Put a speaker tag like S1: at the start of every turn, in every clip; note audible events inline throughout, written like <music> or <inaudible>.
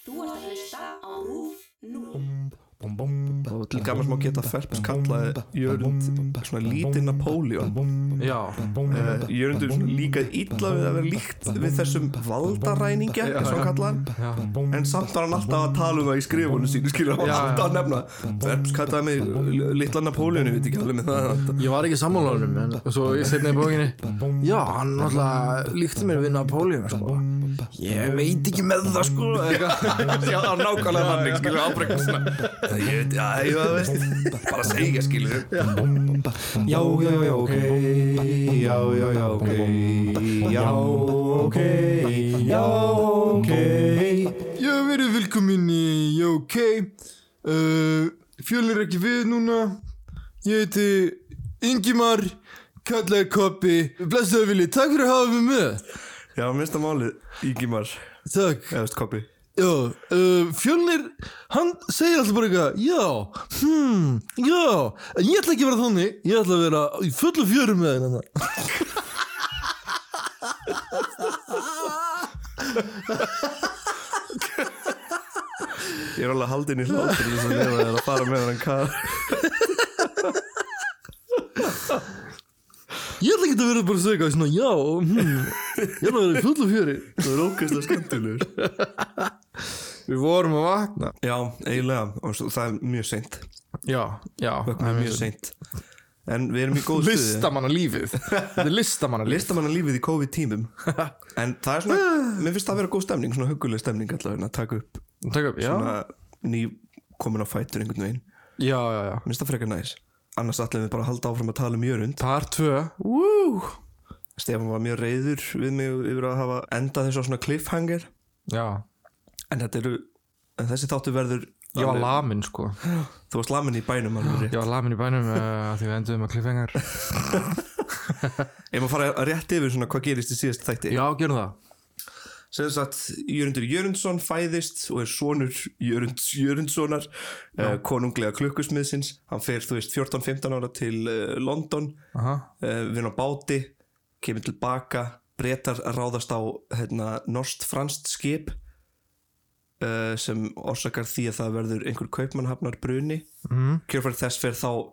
S1: Þú ert að hlusta á RÚF 0.
S2: Gaman sem að geta Phelps kallaði Jörund svona lítið Napoleon
S3: Já,
S2: uh, Jörundur svona líka illa við að vera líkt við þessum valdaræningja
S3: Já,
S2: eins og
S3: já.
S2: kallaðan
S3: já,
S2: en samt var hann alltaf að tala um það í skrifunum sínu skilur hann var
S3: Já, já.
S2: alltaf að nefna Phelps kallaði mig litla Napoleon ég veit ekki alveg með það
S3: ég var ekki sammálanum en svo ég setna í bókinni Já, hann náttúrulega líkti mér við Napoleon sko. Ég veit ekki með það sko
S2: Já, það var nákvæmlega þannig skilur ábrekum svona Ég veit, já, ég það veist bara segja skilur
S3: Já, já, já, ok Já, já, já, ok Já, ok Já, ok Já, verið velkomin í Já, ok uh, Fjölnir ekki við núna Ég heiti Ingimar Kallar Koppi Blessaðu vilji, takk fyrir að hafa mig með
S2: Já, minnst að málið Ígimar
S3: Takk
S2: eða veist kopi
S3: Já, uh, fjölnir, hann segir alltaf bara eitthvað, já, hmm, já, en ég ætla ekki að vera þannig, ég ætla að vera í fullu fjörum með hérna." hennar.
S2: Ég er alveg haldinn í hlátur þess að nefna þeirra að fara með hann kar
S3: Ég ætla ekki að vera bara að segja eitthvað svona, já, hmm, ég ætla að vera í fullu fjöri.
S2: Það er ókvæmstlega skemmtilegur
S3: Við vorum að vakna.
S2: Já, eiginlega, og svo- það er mjög seint
S3: Já, já,
S2: Það er mjög seint En við erum í góð stuði
S3: Listamanna lífið, þetta er listamanna lífið.
S2: Listamanna lífið í COVID-tímum En það er svona, mér finnst það að vera góð stemning Svona huguleg stemning allavega að taka upp
S3: Takk upp, já,
S2: Svona ný komin á fætur einhvern veginn Mér
S3: já, já, já.
S2: finnst það frekar næs Annars ætlum við bara að halda áfram að tala um Jörund
S3: Par tvö, wú,
S2: Stefán var mjög reyður við mig yfir að hafa endað þessu á svona cliffhanger
S3: já,
S2: En þetta eru, en þessi þáttu verður
S3: ég var
S2: alveg-
S3: lamin sko,
S2: Þú varst lamin í bænum alveg rétt.
S3: ég var lamin í bænum uh, því við enduðum að kliffengar.
S2: Ef maður fara rétt yfir svona hvað gerist í síðast þætti
S3: Já, gerum það.
S2: sem sagt Jörundur Jörundsson fæðist og er sonur Jörunds Jörundssonar uh, konunglega klukkusmiðsins hann fer þú veist 14-15 ára til uh, London
S3: Aha.
S2: uh, vinn á báti kemur tilbaka breytar ráðast á hérna, norst-franst skip uh, sem orsakar því að það verður einhver kaupmannhafnar bruni mm. kjörfæri þess fer þá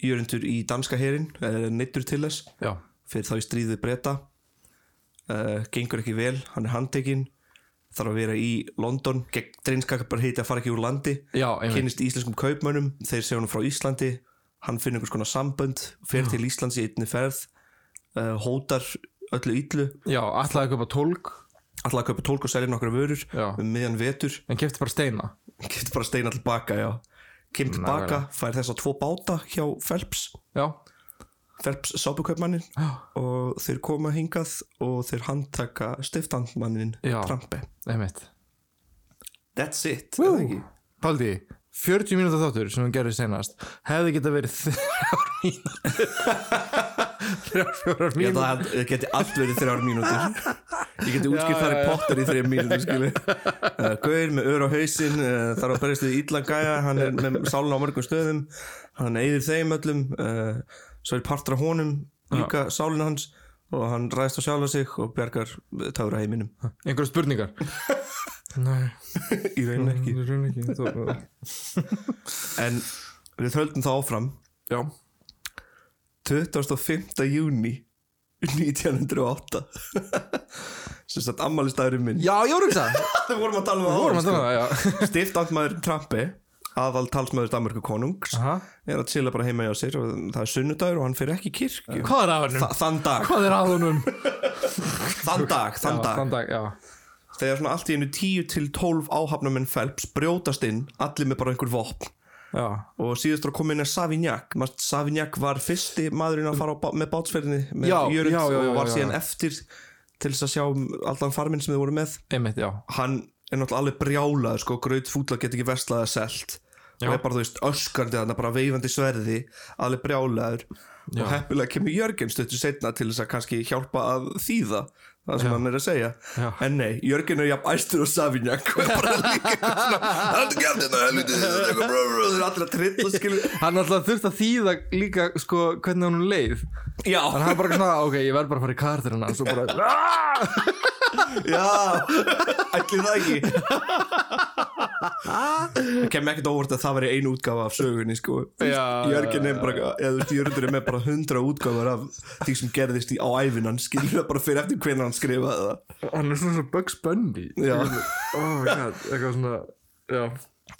S2: Jörundur í danska herin uh, neittur til þess
S3: Já.
S2: fyrir þá í stríðið breyta uh, gengur ekki vel, hann er handtekinn þarf að vera í London gegn dreinskaka bara heiti að fara ekki úr landi
S3: Já, einmitt.
S2: kynnist íslenskum kaupmönnum þeir segja hann frá Íslandi hann finnir einhvers konar sambönd fer til Íslands í einni ferð uh, hótar öllu yllu
S3: Já, ætlaði að köpa tólk
S2: alltaf að kaupa tólk og selja nokkra vörur
S3: Já.
S2: um miðjan vetur, <laughs>
S3: en kefti bara steina
S2: getur bara steina tilbaka já. kem tilbaka, fær þess að tvo báta hjá Phelps
S3: Já,
S2: Phelps sápukaupmannin
S3: Já.
S2: og þeir koma hingað og þeir handtaka stiftandmannin
S3: Já.
S2: Trampe
S3: einmitt
S2: That's it, er það ekki?
S3: Paldi, 40 mínúta þáttur sem hún gerði senast hefði geta verið <laughs> þrjár mínútur þrjár fjórar
S2: Ég,
S3: mínútur
S2: það það geti allt verið þrjár mínútur Ég geti útskilt þar í potter í þrjár mínútur skilu <laughs> uh, Gauður með ör á hausinn uh, þarf að berjast við illa gæja hann er með sálun á mörgum stöðum hann eyðir þeim öllum uh, svo er partur á honum líka sálun hans og hann ræðist á sjálfa sig og bjargar tára heiminum
S3: Einhverja spurningar Nei,
S2: í raunin ekki
S3: ég raun ekki Þó-
S2: en við höldum það áfram
S3: Já,
S2: 25. júni 1908 <laughs> sem sagt ammælistæðurinn minn
S3: já, ég voru ekki það
S2: það vorum að tala um
S3: Við
S2: það
S3: vorum
S2: árum
S3: að tala um það,
S2: sko. stiftandmaður Trampi aðal talsmaður Danmarku konungs
S3: já
S2: er að chilla bara heima hjá sér og það er sunnudagur og hann fyrir ekki í kirkju
S3: Hvað er að honum?
S2: Þa, þann dag,
S3: Hvað er að honum?
S2: þann dag, þann dag
S3: Þann dag, já
S2: þegar svona allt í einu 10 til 12 áhafnamenn Phelps brjótast inn, allir með bara einhver vopn
S3: Já,
S2: og síðustur að koma inn er Savignac Manst, Savignac var fyrsti maðurinn að fara á, bá- með bátsferðinni með
S3: Já,
S2: Jörund
S3: já, já, já,
S2: og var
S3: já,
S2: síðan
S3: já.
S2: eftir til þess að sjá um allan farminn sem þið voru með
S3: einmitt, já
S2: hann er náttúrulega alveg brjálaður sko, graut fútla get ekki verslaða selt
S3: Já.
S2: og er bara þú veist öskandi þannig bara veifandi sverði alveg brjálaður
S3: Já.
S2: og heppilega kemur Jörgen stöttu setna til þess að kannski hjálpa að þýða það sem hann er að segja
S3: Já.
S2: en nei, Jörgen er jafn æstur og Savignac og er bara líka eitthvað svona hann gæmdi það helviti þetta er eitthvað brr, brr," þeir eru allir að trilla skilur
S3: Hann alltaf þurft að þýða líka sko hvernig honum leið
S2: já,
S3: Þannig að hann bara svona, ok, ég verð bara að fara í kartirina "Ah!" og svo bara
S2: já, ætli það ekki það kemur ekkert óvart að það veri einu útgáfa af sögunni sko.
S3: Já,
S2: Jörgin er
S3: já,
S2: bara, eða þú veist, Jörgur er með bara hundra útgáfar af því sem gerðist í, á ævinan skilur það bara fyrir eftir hvernig hann skrifaði það
S3: hann er svona svo Bugs Bunny
S2: Já.
S3: oh my god, eitthvað svona já,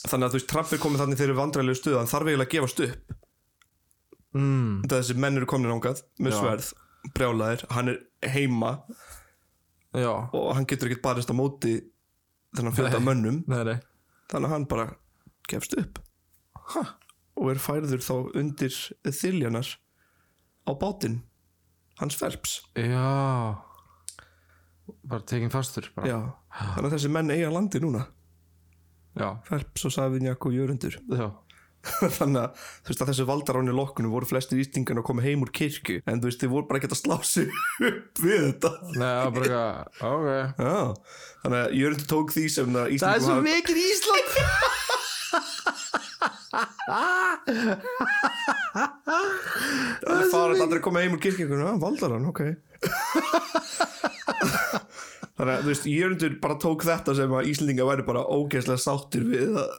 S2: þannig að þú veist, Trump er komið þannig fyrir vandræðilegu stuð hann þarf eiginlega að gefast upp
S3: mm.
S2: þetta þessi menn eru komin ángað með
S3: Já.
S2: sverð, brjálæðir, hann er heima
S3: já,
S2: og hann getur ekkert barist á móti þennan fjölda
S3: Nei.
S2: mönnum
S3: nei, nei
S2: þannig að hann bara gefst upp og er færður þá undir þiljanar á bátinn hans verps
S3: já bara tekin fastur bara.
S2: já. þannig að þessi menn eiga landi núna
S3: já,
S2: verps og Savinjak og Jörundur <laughs>
S3: já.
S2: þannig að, þú veist, að þessu valdaráni lokkunum voru flestir ístingan að koma heim úr kirkju en þú veist þið voru bara ekkert að slá sig <laughs> upp við þetta
S3: Nei, það er bara eitthvað, ok
S2: já. þannig að Jörundur tók því sem að
S3: Það er
S2: ístingum
S3: svo mikið Ísland
S2: Það fara aldrei að koma heim úr kirkjökunum, að valdar hann, ok <laughs> Þannig að, þú veist, Jörnundur bara tók þetta sem að Íslendinga væri bara ógeðslega sáttir við að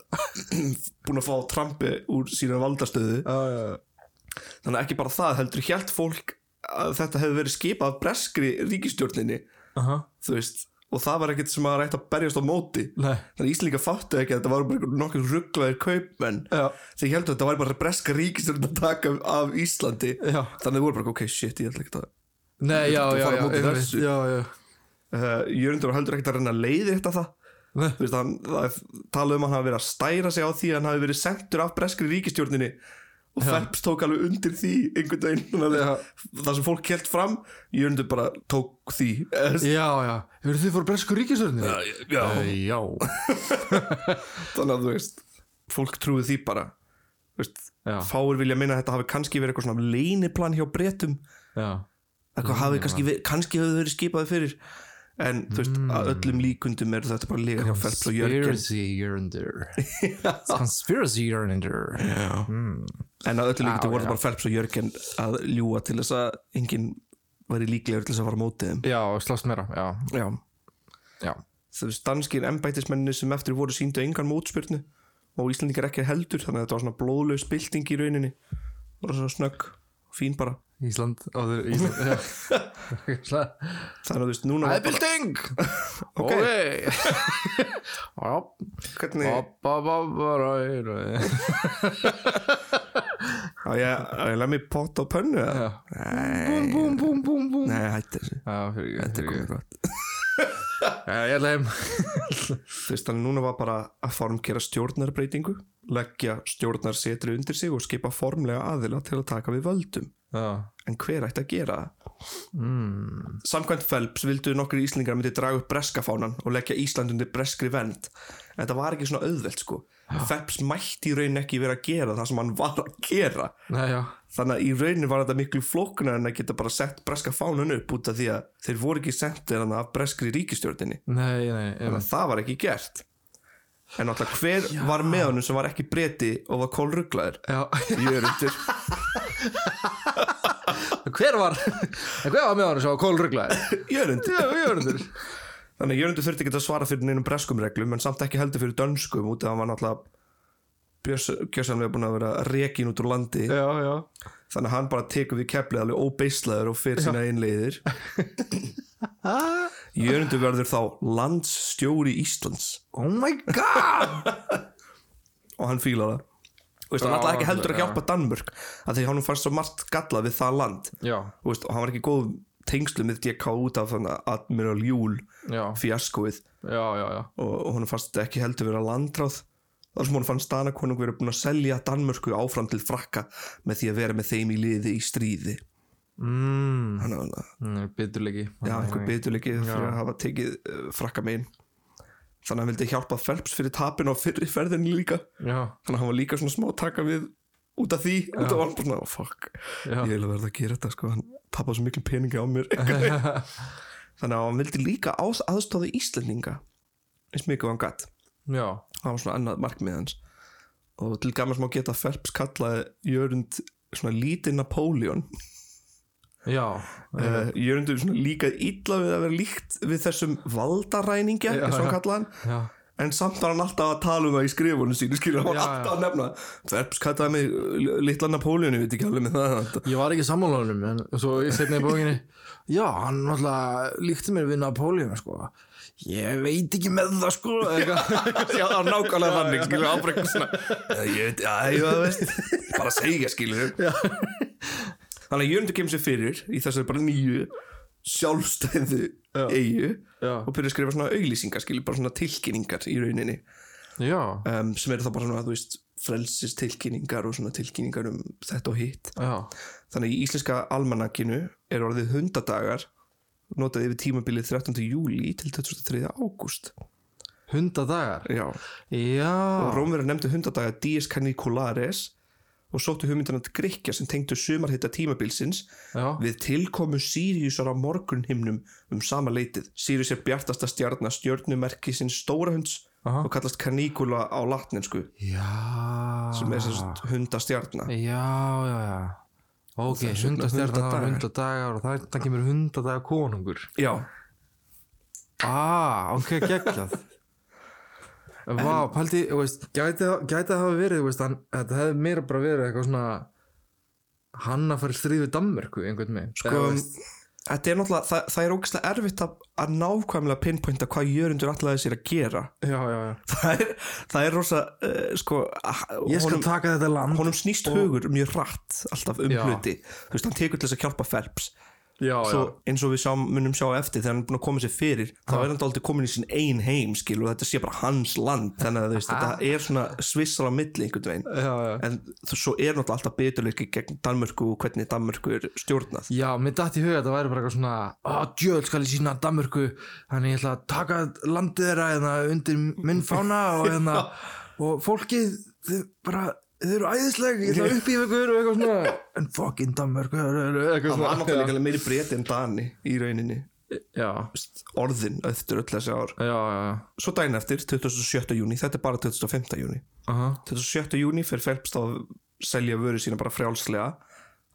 S2: <clears throat> búin að fá trampi úr sína valdastöðu Þannig að ekki bara það, heldur hjælt fólk að þetta hefði verið skipað af breskri ríkistjórninni,
S3: Aha,
S2: þú veist og það var ekkert sem að rætt að berjast á móti
S3: Nei
S2: Þannig að Íslendinga fattu ekki að þetta var bara nokkur rugglaðir kaupmenn
S3: Já,
S2: sem heldur að þetta væri bara breska ríkistjórn að taka af Íslandi
S3: Já.
S2: þannig að þau voru bara ok shit ég ætla ekki að
S3: nei, já,
S2: Þú
S3: já,
S2: fara
S3: já,
S2: á móti
S3: einmitt,
S2: þessu.
S3: já, já
S2: uh, Jörgundur var heldur ekkert að reyna að leiði þetta það
S3: Nei.
S2: Þú veist, hann, það tala um að hann hafi verið að stæra sig á því að hann hafi verið sendur af breskri ríkistjórninni og Phelps tók alveg undir því einhvern veginn þannig að það sem fólk kelt fram Jörgundur bara tók því Eh, þú veist,
S3: Já, já, hefur þið fór bresku ríkisörnir?
S2: já.
S3: já
S2: <laughs> þannig að þú veist fólk trúið því bara Þú veist,
S3: Já.
S2: fáir vilja minna að þetta hafi kannski verið eitthvað svona leiniplan hjá bretum
S3: Já,
S2: eitthvað hafi kannski, ver- kannski hefur verið skipaði fyrir en þú veist
S3: Mm.
S2: að öllum líkundum er þetta bara líka hjá Phelps og Jörgen
S3: Conspiracy Jörnir Conspiracy Jörnir
S2: en að öllum líkundum
S3: Já,
S2: voru
S3: já.
S2: þetta bara Phelps og Jörgen að ljúa til þess að enginn væri líklegur til þess að fara á mótið þeim
S3: Já, slást meira, já,
S2: já.
S3: já
S2: þú veist danskir embætismenninni sem eftir voru síndu engan mótspyrnu og Íslandingar ekki heldur þannig að þetta var svona blóðlaus bylting í rauninni og svo snögg, fín bara
S3: Ísland, áður, Ísland, <laughs> já
S2: þannig að þú veist núna var bara,
S3: Æðbilding <laughs> Ok Já,
S2: hvernig,
S3: Ba-ba-ba-ra-ra.
S2: á ég, á ég lemmi pott og pönnu eða?
S3: Já. Búm, búm, búm, búm, búm
S2: nei, hætti þessu,
S3: Já, fyrir
S2: þetta er komið gott
S3: <laughs> Ég ætla heim
S2: Þú veist, þannig núna var bara að formkera stjórnarbreytingu, leggja stjórnarsetri undir sig og skipa formlega aðila til að taka við völdum.
S3: Já,
S2: En hver ætti að gera það? Mm. Samkvæmt Phelps vildu nokkur íslingar myndi draga upp breskafánan og leggja Ísland undir breskri vend. En þetta var ekki svona auðvelt sko. Phelps mætti í raun ekki vera að gera það sem hann var að gera.
S3: nei, já
S2: Þannig að í rauninu var þetta miklu flóknar en að geta bara sett breska fánan upp út af því að þeir voru ekki sendir hann af breskri ríkistjórninni
S3: Nei, nei,
S2: þannig
S3: em,
S2: að það var ekki gert en náttúrulega hver var með honum sem var ekki breti og var kólruglaður
S3: já
S2: Jörundur
S3: Hver var en Hver var með hann svo kólruglaði?
S2: Jörundur
S3: <laughs> Já, Jörnir
S2: þannig að Jörundur þurfti ekki að svara fyrir neinum breskum reglum en samt ekki heldur fyrir dönskum út af að hann var náttúrulega Gjössanlega búin að vera rekin út úr landi
S3: Já, já
S2: þannig að hann bara tekur við keflið alveg óbeislaður og fyrir sína
S3: <laughs>
S2: einleiðir Jörundur verður þá landsstjóri Íslands
S3: Oh my god
S2: og hann fílar það Þú veist, hann
S3: Já,
S2: ætlaði ekki heldur að
S3: já.
S2: hjálpa Danmörk að því hann fannst svo margt galla við það land
S3: Já,
S2: Þú veist, og hann var ekki í góð tengslu með GK út af þannig að Admiral Júl
S3: já,
S2: fjaskoið
S3: já, já, já
S2: og, og hún fannst ekki heldur vera landráð þar sem hún fannst Danakonung verið búin að selja Danmörku áfram til frakka með því að vera með þeim í liði í stríði
S3: Mmm,
S2: hann að
S3: biturleiki
S2: já, einhver beturleiki fyrir að hafa tekið uh, frakka megin þannig að hann vildi hjálpa Phelps fyrir tapin á fyrri ferðin líka
S3: Já,
S2: þannig að hann var líka svona smá að taka við út af því, út af hann bara svona, oh, fuck
S3: Já.
S2: ég vil að verða að gera þetta sko, hann tapar svo miklu peningi á mér einhvern veginn. þannig að hann vildi líka ás- aðstoða Íslendinga eins mikið og hann gatt
S3: já
S2: það var svona annað markmið hans og til gamans má geta að Phelps kallaði Jörund svona lítið Napoleon
S3: Já,
S2: uh, Jörundur svona líka illa við að vera líkt við þessum valdaræningja,
S3: Já,
S2: eins og hann
S3: já.
S2: kallaði hann
S3: já
S2: en samt var hann alltaf að tala um það í skrifunum sínu skilur, hann var
S4: Já, já.
S2: alltaf að nefna Verbs kallaði mig litla Napóleon ég veit ekki alveg með það
S4: Ég var ekki sammálanum en svo ég setna í bókinni Já, hann náttúrulega líkti mér við Napoleon sko. Ég veit ekki með það sko eitthvað.
S2: Já, það var nákvæmlega þannig, skilur, ábreykna svona "Eh, Ég veit, já, ég það veist Bara að segja, skilur Þannig að Jörndur kemur sér fyrir í þessari bara nýju sjálfstæðu eigu
S4: Já.
S2: og byrja að skrifa svona auglýsingar, skilur, bara svona tilkynningar í rauninni
S4: Já,
S2: um, sem eru þá bara svona, þú veist, frelsis tilkynningar og svona tilkynningar um þetta og hitt
S4: já,
S2: Þannig að í íslenska almanakinu er orðið hundadagar notaði yfir tímabilið 13. júli til 23. ágúst
S4: hundadagar
S2: Já
S4: Já,
S2: Rómverjar nefndu hundadaga Dies Caniculares og sóttu hugmyndina til Gríkja sem tengdu sumarhitta tímabilsins
S4: já,
S2: við tilkomu Siriusar á morgunhimnum um sama leitið. Sirius er bjartasta stjarnar stjörnumerki sinn stórahunds
S4: Aha.
S2: og kallast Canicula á latnensku
S4: já
S2: sem er sérst hundastjarnar.
S4: Já, já, já Ok, hundastjarnar, það
S2: hundadagar.
S4: var hundadagar og það, það kemur hundadagar konungur
S2: Já,
S4: Ah, ok, geggjað Vá, pældi, þú veist, gæti, það- gæti það hafa verið, þú veist, hann, þetta hefði meira bara verið eitthvað svona hann að fara í stríð við Danmörku, einhvern veginn
S2: sko, þetta er náttúrulega, það, það er ógæslega erfitt að, að nákvæmlega pinpointa hvað jörundur allavega sér að gera. <laughs>
S4: Já, já, já
S2: Það er, það er rosa, uh, sko, ah,
S4: Ég skal
S2: honum-
S4: taka þetta land
S2: honum snýst hugur mjög rætt alltaf um
S4: Já.
S2: hluti þú veist, hann tekur til þess að hjálpa Ferbs
S4: Já,
S2: svo eins og við sjáum, munum sjá eftir þegar hann er búin að koma sér fyrir þá er hann aldrei komin í sín ein heim skil og þetta sé bara hans land þannig að þú veist, þetta er svona svissar á milli einhvern veginn
S4: já, já
S2: en þú- svo er náttúrulega alltaf beturleiki gegn Danmörku og hvernig Danmörku er stjórnað
S4: Já, mér datt í huga að þetta væri bara eitthvað svona að djöðl skal ég sína Danmörku þannig ég ætla að taka landið þeirra hérna, undir minn fána <laughs> og, hérna, og fólkið þið bara, þið eru æðisleg ég ætla að uppífa ykkur og eitthvað svona en fucking Danmörku eitthvað
S2: það var
S4: svona
S2: náttúrulega líka meiri breti en Dani í rauninni
S4: Já,
S2: orðin eftir öll þessi ár
S4: já, já, já.
S2: svo dæn eftir, 27. júni, þetta er bara 25. júni
S4: Aha.
S2: 27. júni fer Phelps þá að selja vöru sína bara frjálslega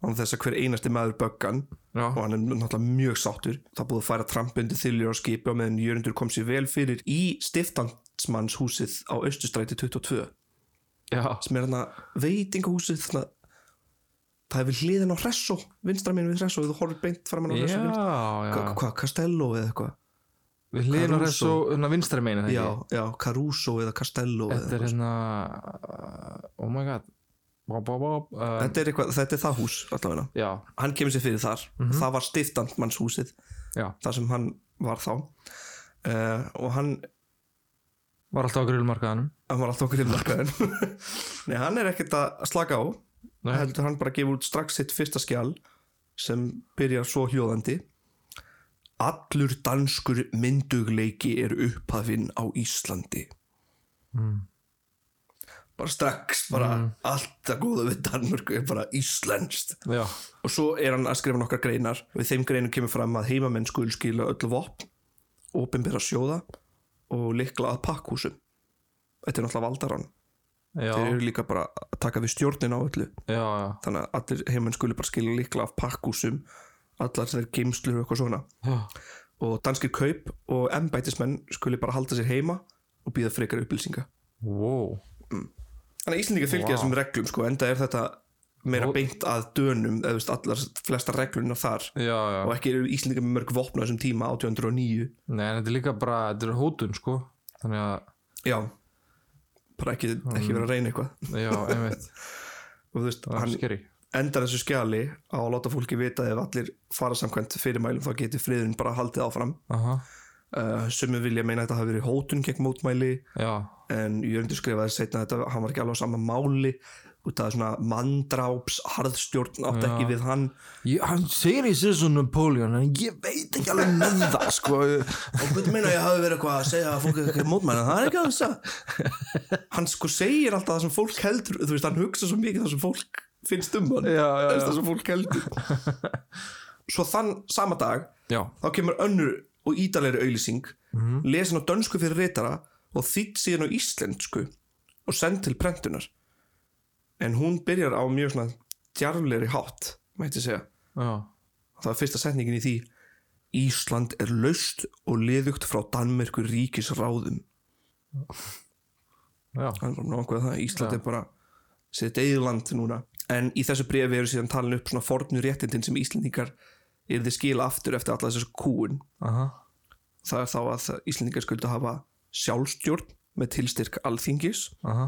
S2: án þess að hver einasti maður böggan
S4: Já.
S2: og hann er náttúrulega mjög sáttur það er búið að færa Trump undir þyljur á skipi og meðan Jörundur kom sér vel fyrir í stiftansmannshúsið á Östustræti 22
S4: já,
S2: sem er hann að veitingahúsið þarna það er við hliðin á Hressó vinstra minn við Hressó, þú horfir beint framan á
S4: já,
S2: Hressó vinstri- Hva-
S4: já.
S2: hvað, Castello eða eitthvað
S4: Við hliðum á þessu
S2: Caruso.
S4: hérna vinstri meina
S2: já, já, Caruso eða Castello eða
S4: Þetta
S2: eitthvað.
S4: er hérna uh, oh my god bá, bá, bá, uh,
S2: þetta, er eitthvað, þetta er það hús allavega
S4: Já,
S2: hann kemur sér fyrir þar það var stiftandmannshúsið
S4: já,
S2: þar sem hann var þá uh, og hann,
S4: var alltaf á grillmarkaðanum
S2: hann var alltaf okkur himnarkaðin <laughs> nei, hann er ekkert að slaka á
S4: Nei.
S2: heldur hann bara að gefa út strax sitt fyrsta skjal sem byrjar svo hljóðandi Allur danskur myndugleiki er upphafinn á Íslandi bara strax bara allt að góða við Danmörku er bara íslenskt
S4: Já,
S2: og svo er hann að skrifa nokkar greinar og í þeim greinum kemur fram að heimamenn skul skila öllu vopn, opinbera sjóða og likla að pakkhúsum þetta er náttúrulega valdaran
S4: já,
S2: þeir eru líka bara að taka við stjórnin á öllu
S4: já, já
S2: þannig að allir heimamenn skuli bara skila likla af pakkhúsum allar þeir geimslur og eitthvað svona
S4: Já,
S2: og danskir kaup og embætismenn skuli bara halda sér heima og býða frekar upplýsinga
S4: wow.
S2: Þannig að Íslendingar fylgja
S4: Vá.
S2: þessum reglum sko, enda er þetta meira
S4: Og-
S2: beint að dönum eða þú veist, allar flesta regluna þar
S4: Já, já,
S2: og ekki eru Íslendingar með mörg vopna á þessum tíma 1809
S4: nei, en þetta er líka bara, þetta er hótun, sko Þannig að,
S2: já bara ekki, ekki vera að reyna eitthvað
S4: já, <laughs> einmitt,
S2: og þú veist,
S4: það er
S2: hann
S4: skeri
S2: endar þessu skjali á að láta fólki vita að ef allir fara samkvæmt fyrirmælum þá geti friðurinn bara haldið áfram
S4: Aha,
S2: uh, sumir vilja meina að þetta hafi verið hótun gegn mótmæli
S4: já,
S2: en Jörgundur skrifaði setna þetta hann var ekki alveg á sama máli út af svona mandráps harðstjórn átt ekki við hann
S4: ég, hann segir í sér svo Napoleon En ég veit ekki alveg með það, sko
S2: og hvað meina að ég hafi verið eitthvað að segja að fólk er ekki mótmæna, það er ekki að þess að hann sko segir alltaf það sem fólk heldur þú veist, hann hugsa svo mikið það sem fólk finnst um hann,
S4: Já, já,
S2: Þú veist,
S4: já.
S2: það sem fólk heldur svo þann sama dag
S4: Já,
S2: þá kemur önnur og ídalegri auðlýsing
S4: Mhm.
S2: lesin á dönsku fyrir reytara og þýtt síðan á íslensku og send til prentunar en hún byrjar á mjög svona djarflegri hátt, mætti segja
S4: já,
S2: það var fyrsta setningin í því Ísland er laust og liðugt frá Danmerkur ríkisráðum
S4: já,
S2: hann er nokkuð það, Ísland er bara sitt eigið land núna en í þessu brefi eru síðan talin upp svona fornu réttindin sem Íslendingar er þið skila aftur eftir alla þessu kúun
S4: aha,
S2: það er þá að Íslendingar skuldu hafa sjálfstjórn með tilstyrk alþingis
S4: aha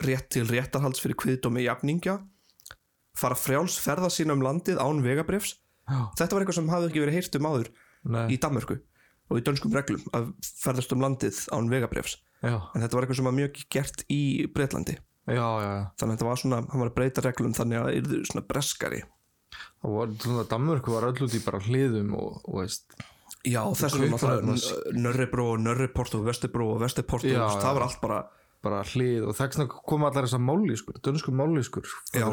S2: rétt til réttarhalds fyrir kviðdómi jafningja fara frjáls ferða sína um landið án vegabrifs
S4: Já.
S2: þetta var eitthvað sem hafði ekki verið heyrt um áður
S4: Nei,
S2: í Danmörku og í dönskum reglum að ferðast um landið án vegabrifs
S4: já,
S2: en þetta var eitthvað sem var mjög gert í Breitlandi
S4: já, já, já
S2: þannig að þetta var svona, hann var að breyta reglum þannig að yrðu svona breskari
S4: Það var, svona, Danmörku var öll út í bara hliðum og, og veist
S2: já, þessum
S4: kaupir
S2: var það
S4: þarna-
S2: Nö- Nörrebró og Nörreport og Vesturbró og Vesturport
S4: Já,
S2: og það
S4: já.
S2: var allt bara
S4: bara hlið og þess vegna kom allar þessar mállýskur, dönsku mállýskur sko.
S2: já,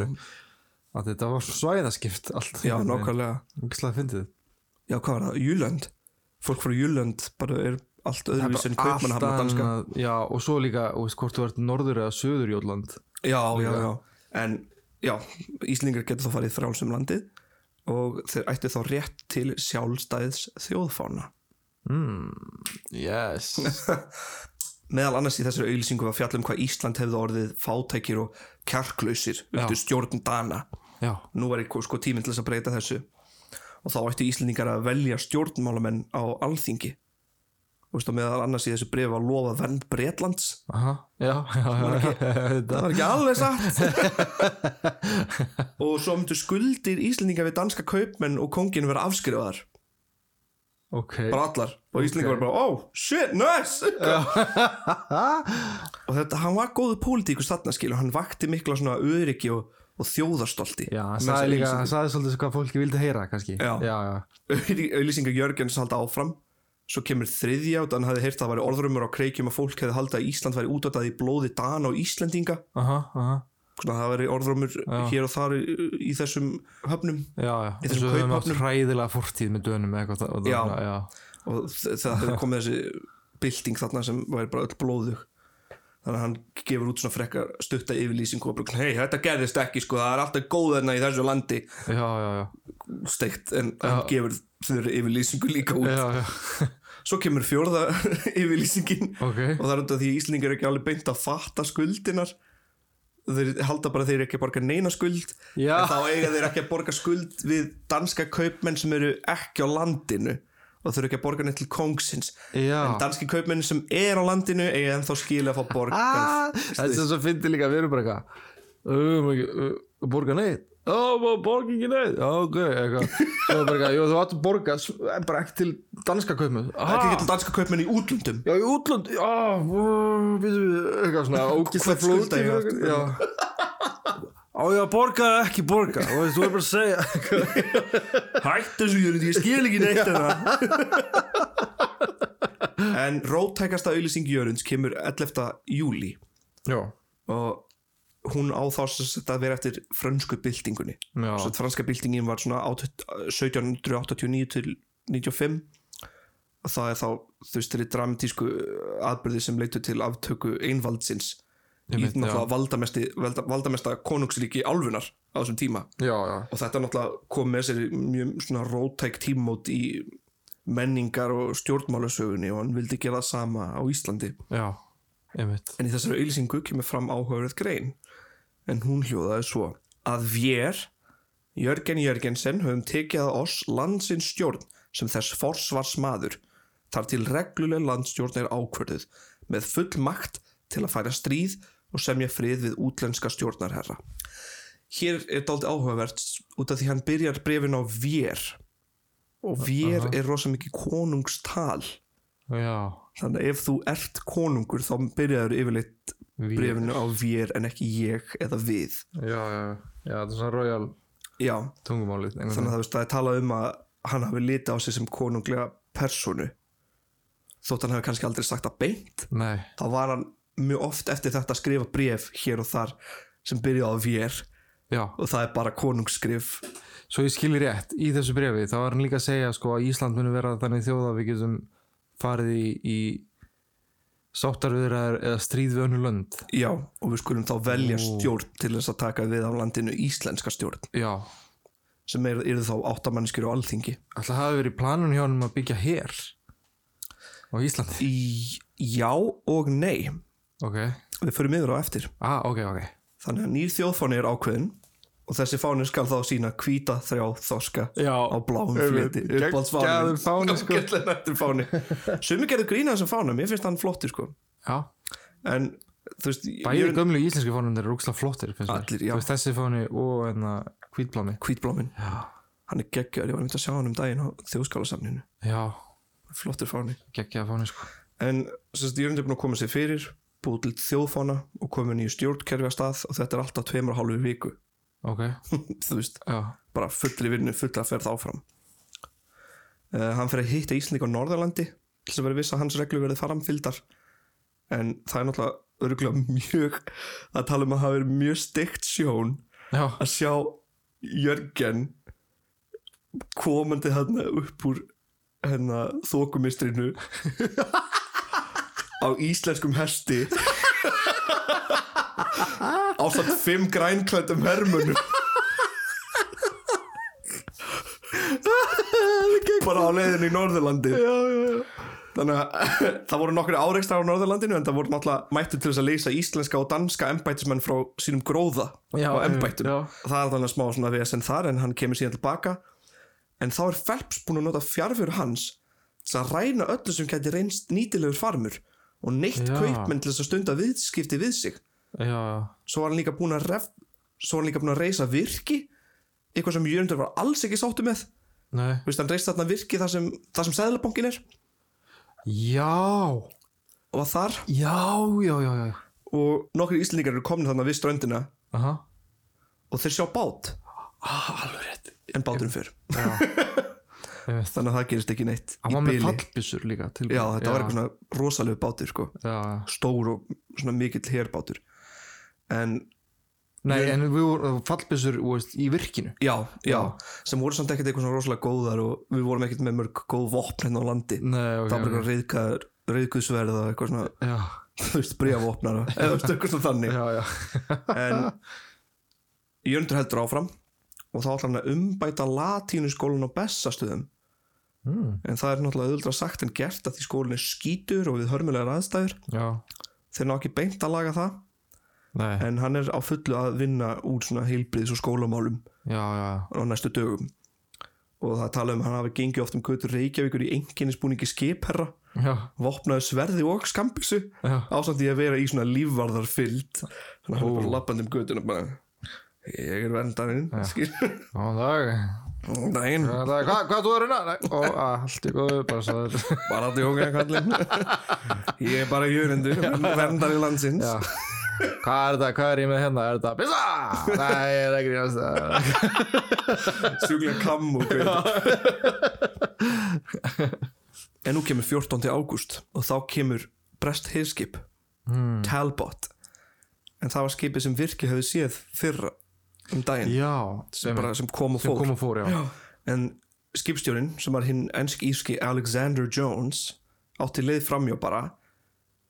S4: að þetta var svæðaskipt allt
S2: já, nákvæmlega
S4: Úkslega fyndið
S2: já, hvað var það, Júlönd fólk frá Júlönd bara er allt öðruvísi en
S4: Bara allt
S2: kaupmannhafna danska
S4: annað- Já, og svo líka, og veist, hvort þú ert norður eða söður Jótland
S2: já, já, já, en já, Íslingar getur þá farið frálsum landið og þeir ættu þá rétt til sjálfstæðs þjóðfána
S4: Yes
S2: meðal annars í þessari auðlýsingu var fjallum hvað Ísland hefði orðið fátækir og kjarklausir undir stjórn Dana
S4: Já,
S2: nú var eitthvað sko tíminn til þess að breyta þessu og þá ættu Íslendingar að velja stjórnmálamenn á alþingi Þú veist, og meðal annars í þessu brefi var lofa vernd Bretlands
S4: aha, já, já, já, já, já
S2: það var ekki alveg
S4: <laughs>
S2: satt og svo myndu skuldir Íslendingar við danska kaupmenn og kongin vera afskrifaðar
S4: Ok,
S2: bara allar og Íslendingar var bara oh shit
S4: <laughs>
S2: nice og þetta, hann var góðu pólitíkus þarna skilu hann vakti mikla svona öryggi og, og þjóðarstolti
S4: já, hann
S2: Með
S4: sagði
S2: þessari
S4: líka, hann
S2: auglýsingu.
S4: sagði svolítið svo hvað fólki vildi heyra kannski
S2: Já.
S4: já, já,
S2: auðlýsingar Jörgens halda áfram svo kemur þriðja og hann hafði heyrt að það væri orðrumur á kreikjum að fólk hefði haldið að Ísland væri útvætað í blóði Dana og Íslendinga
S4: aha, aha
S2: svona það væri orðrumur hér og þar í, í þessum höfnum
S4: Já, já,
S2: Í
S4: eins
S2: þessum
S4: og höfum átt
S2: kauphöfnum.
S4: hræðilega fórtíð með dönum eða eitthvað og það-
S2: Já.
S4: já,
S2: og þ- það
S4: <laughs>
S2: hefði komið þessi bylting þarna sem væri bara öll blóðug þannig að hann gefur út svona frekkar stutta yfirlýsingu og bara hei þetta gerðist ekki sko það er alltaf góðarna í þessu landi
S4: já, já, já,
S2: steikt en hann
S4: Já.
S2: gefur þeirra yfirlýsingu líka út
S4: já, já. <laughs>
S2: svo kemur fjórða <laughs> yfirlýsingin
S4: Ok.
S2: og það er út af því að Íslendingar eru ekki alveg beint að fatta skuldinar þeir halda bara að þeir eru ekki að borga neina skuld
S4: Já.
S2: en þá eiga þeir ekki að borga skuld við danska kaupmenn sem eru ekki á landinu og þeir eru ekki að borga neitt til kongsins
S4: Já.
S2: en danski kaupmenn sem er á landinu eiga ennþá skilja að fá
S4: Ah,
S2: borgað
S4: Það er sem svo fyndi líka að við erum bara eitthvað um, ekki, uh, borga neitt Já, bara borga ekki neitt Já, ok, <laughs> eitthvað Svo er bara eitthvað, jú, þú átt að borga s- en bara ekki til danska kaupmið
S2: ekki ekki til danska kaupmenn í útlöndum
S4: Já, í útlönd Já, býtum við eitthvað svona ógislega
S2: Hvað skulda
S4: flóti
S2: ég
S4: eitthvað,
S2: aftur?
S4: Já Á ég að borga eða ekki borga Þú veist, þú er bara að segja
S2: Hætt þessu Jörgundi, ég skil ekki neitt en það En róttækasta auðlýsing Jörgunds kemur 11. júli
S4: Já,
S2: og hún á þá sem sagt að vera eftir frönsku byltingunni
S4: Já.
S2: Svo að franska byltingin var svona átut- 1789 til 95 og það er þá þú veist þeirri dramatísku aðbyrði sem leitu til aftöku einvaldsins í
S4: Einmitt,
S2: náttúrulega valdamesti, valda, valdamesta konungsríki álfunar á þessum tíma
S4: já, já
S2: og þetta náttúrulega kom með sér mjög svona rótæk tímót í menningar og stjórnmálasögunni og hann vildi gera það sama á Íslandi
S4: Já, einmitt
S2: en í þessari auðlýsingu kemur fram áhauðrið grein en hún hljóðaði svo að vér Jörgen Jörgensen höfum tekið að oss landsins stjórn sem þess forsvarsmaður þar til regluleg landstjórn er ákvörðuð með full makt til að færa stríð og semja frið við útlenska stjórnarherra hér er dálítið áhugavert út af því hann byrjar brefin á vér og vér er rosa mikið konungstal
S4: Já,
S2: Þannig að ef þú ert konungur þá byrjaður yfirleitt
S4: Vér.
S2: brefinu á vér en ekki ég eða við.
S4: já, já Já, það er svona royal
S2: Já,
S4: tungumálið einhvern
S2: þannig að það, veist, það er talað um að hann hafi litið á sig sem konunglega personu. Þótt hann hafi kannski aldrei sagt það beint,
S4: veginn. Nei
S2: þá var hann mjög oft eftir þetta að skrifa bref hér og þar sem byrjaði á vér
S4: Já,
S2: og það er bara konungsskrif.
S4: svo ég skilir rétt í þessu brefi þá var hann líka að segja sko að Ísland muni vera þannig þjóð að við getum farið í, í sáttarviðraður eða stríð við önnu lönd
S2: Já, og við skulum þá velja stjórn til þess að taka við á landinu íslenska stjórn
S4: Já,
S2: sem eru er þá áttamannskir og alþingi.
S4: alltaf hafi verið planun hjá hann að byggja hér á Íslandi
S2: í já og nei
S4: ok,
S2: Við förum yfir á eftir
S4: ah, ok, ok
S2: Þannig að nýr þjóðfáni er ákveðin og þessi fáni skal þá sína hvíta þrjá þorska
S4: Já.
S2: á bláum
S4: Einmitt.
S2: fliti
S4: Geggjaður fáni, sko.
S2: nættur fáni Sumi gerðu grína þessum fána, mér finnst hann flotti sko
S4: já,
S2: En þú veist,
S4: bæði gömlu íslensku fónum er rúkslega flottir finnst mér.
S2: Allir, já.
S4: Þú veist, þessi fóni og enna hvítblámi
S2: hvítbláminn Hann er geggjör, ég var myndi að sjá hann um daginn á þjóðskálasamninu
S4: já,
S2: Flottur fáni
S4: geggjaða fóni sko
S2: En sérst, Jörund er búin að koma sér fyrir búið til þjóðfána og komið nýju stjórnkerfi að stað og þetta er alltaf tveimur og hálfu viku
S4: ok,
S2: þú veist,
S4: já,
S2: bara fullri vinnu, fulla ferð áfram uh, Hann fer að hitta Íslandík á Norðalandi til þess að vera viss að hans reglu verði framfylgdar en það er náttúrulega örgulega mjög að tala um að hafa verið mjög steikt sjón
S4: já,
S2: að sjá Jörgen komandi þarna upp úr hérna þókumistrinu á íslenskum hesti ásamt fimm grænklættum hermunum bara á leiðinu í Norðurlandi já, já, já. þannig að <laughs> það voru nokkru áreikstar á Norðurlandinu en það voru náttúrulega mættu til þess að leysa íslenska og danska embætismenn frá sínum gróða
S4: Já,
S2: og embættum
S4: já.
S2: það er þannig að smá svona vesen þar en hann kemur síðan tilbaka en þá er Phelps búin að nota fjárfjör hans til að ræna öllu sem gæti reynst nýtilegur farmur og neitt
S4: Já.
S2: kaupmenn til þess að stunda viðskipti við sig
S4: já, já.
S2: svo var hann líka búin að ref, svo var hann líka búin að reysa virki eitthvað sem Jörgundur var alls ekki sáttu með
S4: nei,
S2: Þú veist, hann reist þarna virki þar sem, þar sem seðlabankin er
S4: já
S2: og var þar
S4: já, já, já, já
S2: og nokkri íslendingar eru komin þarna við ströndina
S4: aha,
S2: og þeir sjá bát
S4: ah, alveg rétt
S2: en báturinn fyrir <laughs>
S4: ég veist
S2: þannig að það gerist ekki neitt
S4: hann
S2: í
S4: var með
S2: bili
S4: fallbissur líka til
S2: já, þetta var eitthvað svona rosalegu bátur sko.
S4: já, já
S2: stór og svona mikill herbátur en
S4: Nei,
S2: Ég-
S4: en við vorum fallbissur veist, í virkinu
S2: já, já, sem voru samt ekkert eitthvað svona rosalega góðar og við vorum ekkert með mörg góð vopn hérna á landi
S4: Nei, ok,
S2: það var
S4: ok.
S2: eitthvað reyðkaður reyðkuðsverð og eitthvað svona <laughs>
S4: Já,
S2: þú veist, bríðavopnar og eða þú veist, eitthvað svona þannig
S4: <laughs> já, já
S2: en Jöndur heldur áfram og þá ætlar hann að umbæta latínuskólan á Bessastöðum
S4: mm.
S2: en það er náttúrulega auðvitað sagt en gert að því skólinn er skítur og við hörmulegar aðstæður
S4: Já,
S2: þeir ná ekki beint að laga það
S4: nei,
S2: en hann er á fullu að vinna úr svona heilbriðs og skólamálum
S4: já, já
S2: á næstu dögum og það tala um að hann hafi gengið oft um götu Reykjavíkur í enginnisbúningi skipherra
S4: Já,
S2: vopnaði sverði og skambissu
S4: já,
S2: ásamt því að vera í svona lífvarðarfyllt þannig að hann er
S4: Ó.
S2: bara lappandi um götuna bara ég er verndarinn
S4: Já.
S2: skil <laughs>
S4: góðan dag
S2: daginn,
S4: Góðan dag, hvað, hvað þú er reyna? Nei, ó, að, allt í góðu, bara svo þetta
S2: bara þetta jóka kallinn <laughs> ég er bara jörundur verndari landsins
S4: <laughs> Já Hvað er þetta, hvað er ég með hérna? Er þetta pizza? Nei, ég er ekki hérna. grínast það.
S2: sjúklega kamm og kveit en nú kemur 14. ágúst og þá kemur Brest herskip
S4: Hmm.
S2: Talbot en það var skipið sem virki hefði séð fyrra um daginn
S4: Já,
S2: sem, bara, sem kom og
S4: sem
S2: fór
S4: kom og fór, já
S2: en skipstjórin sem var hinn ennsk íski Alexander Jones átti leið framjá bara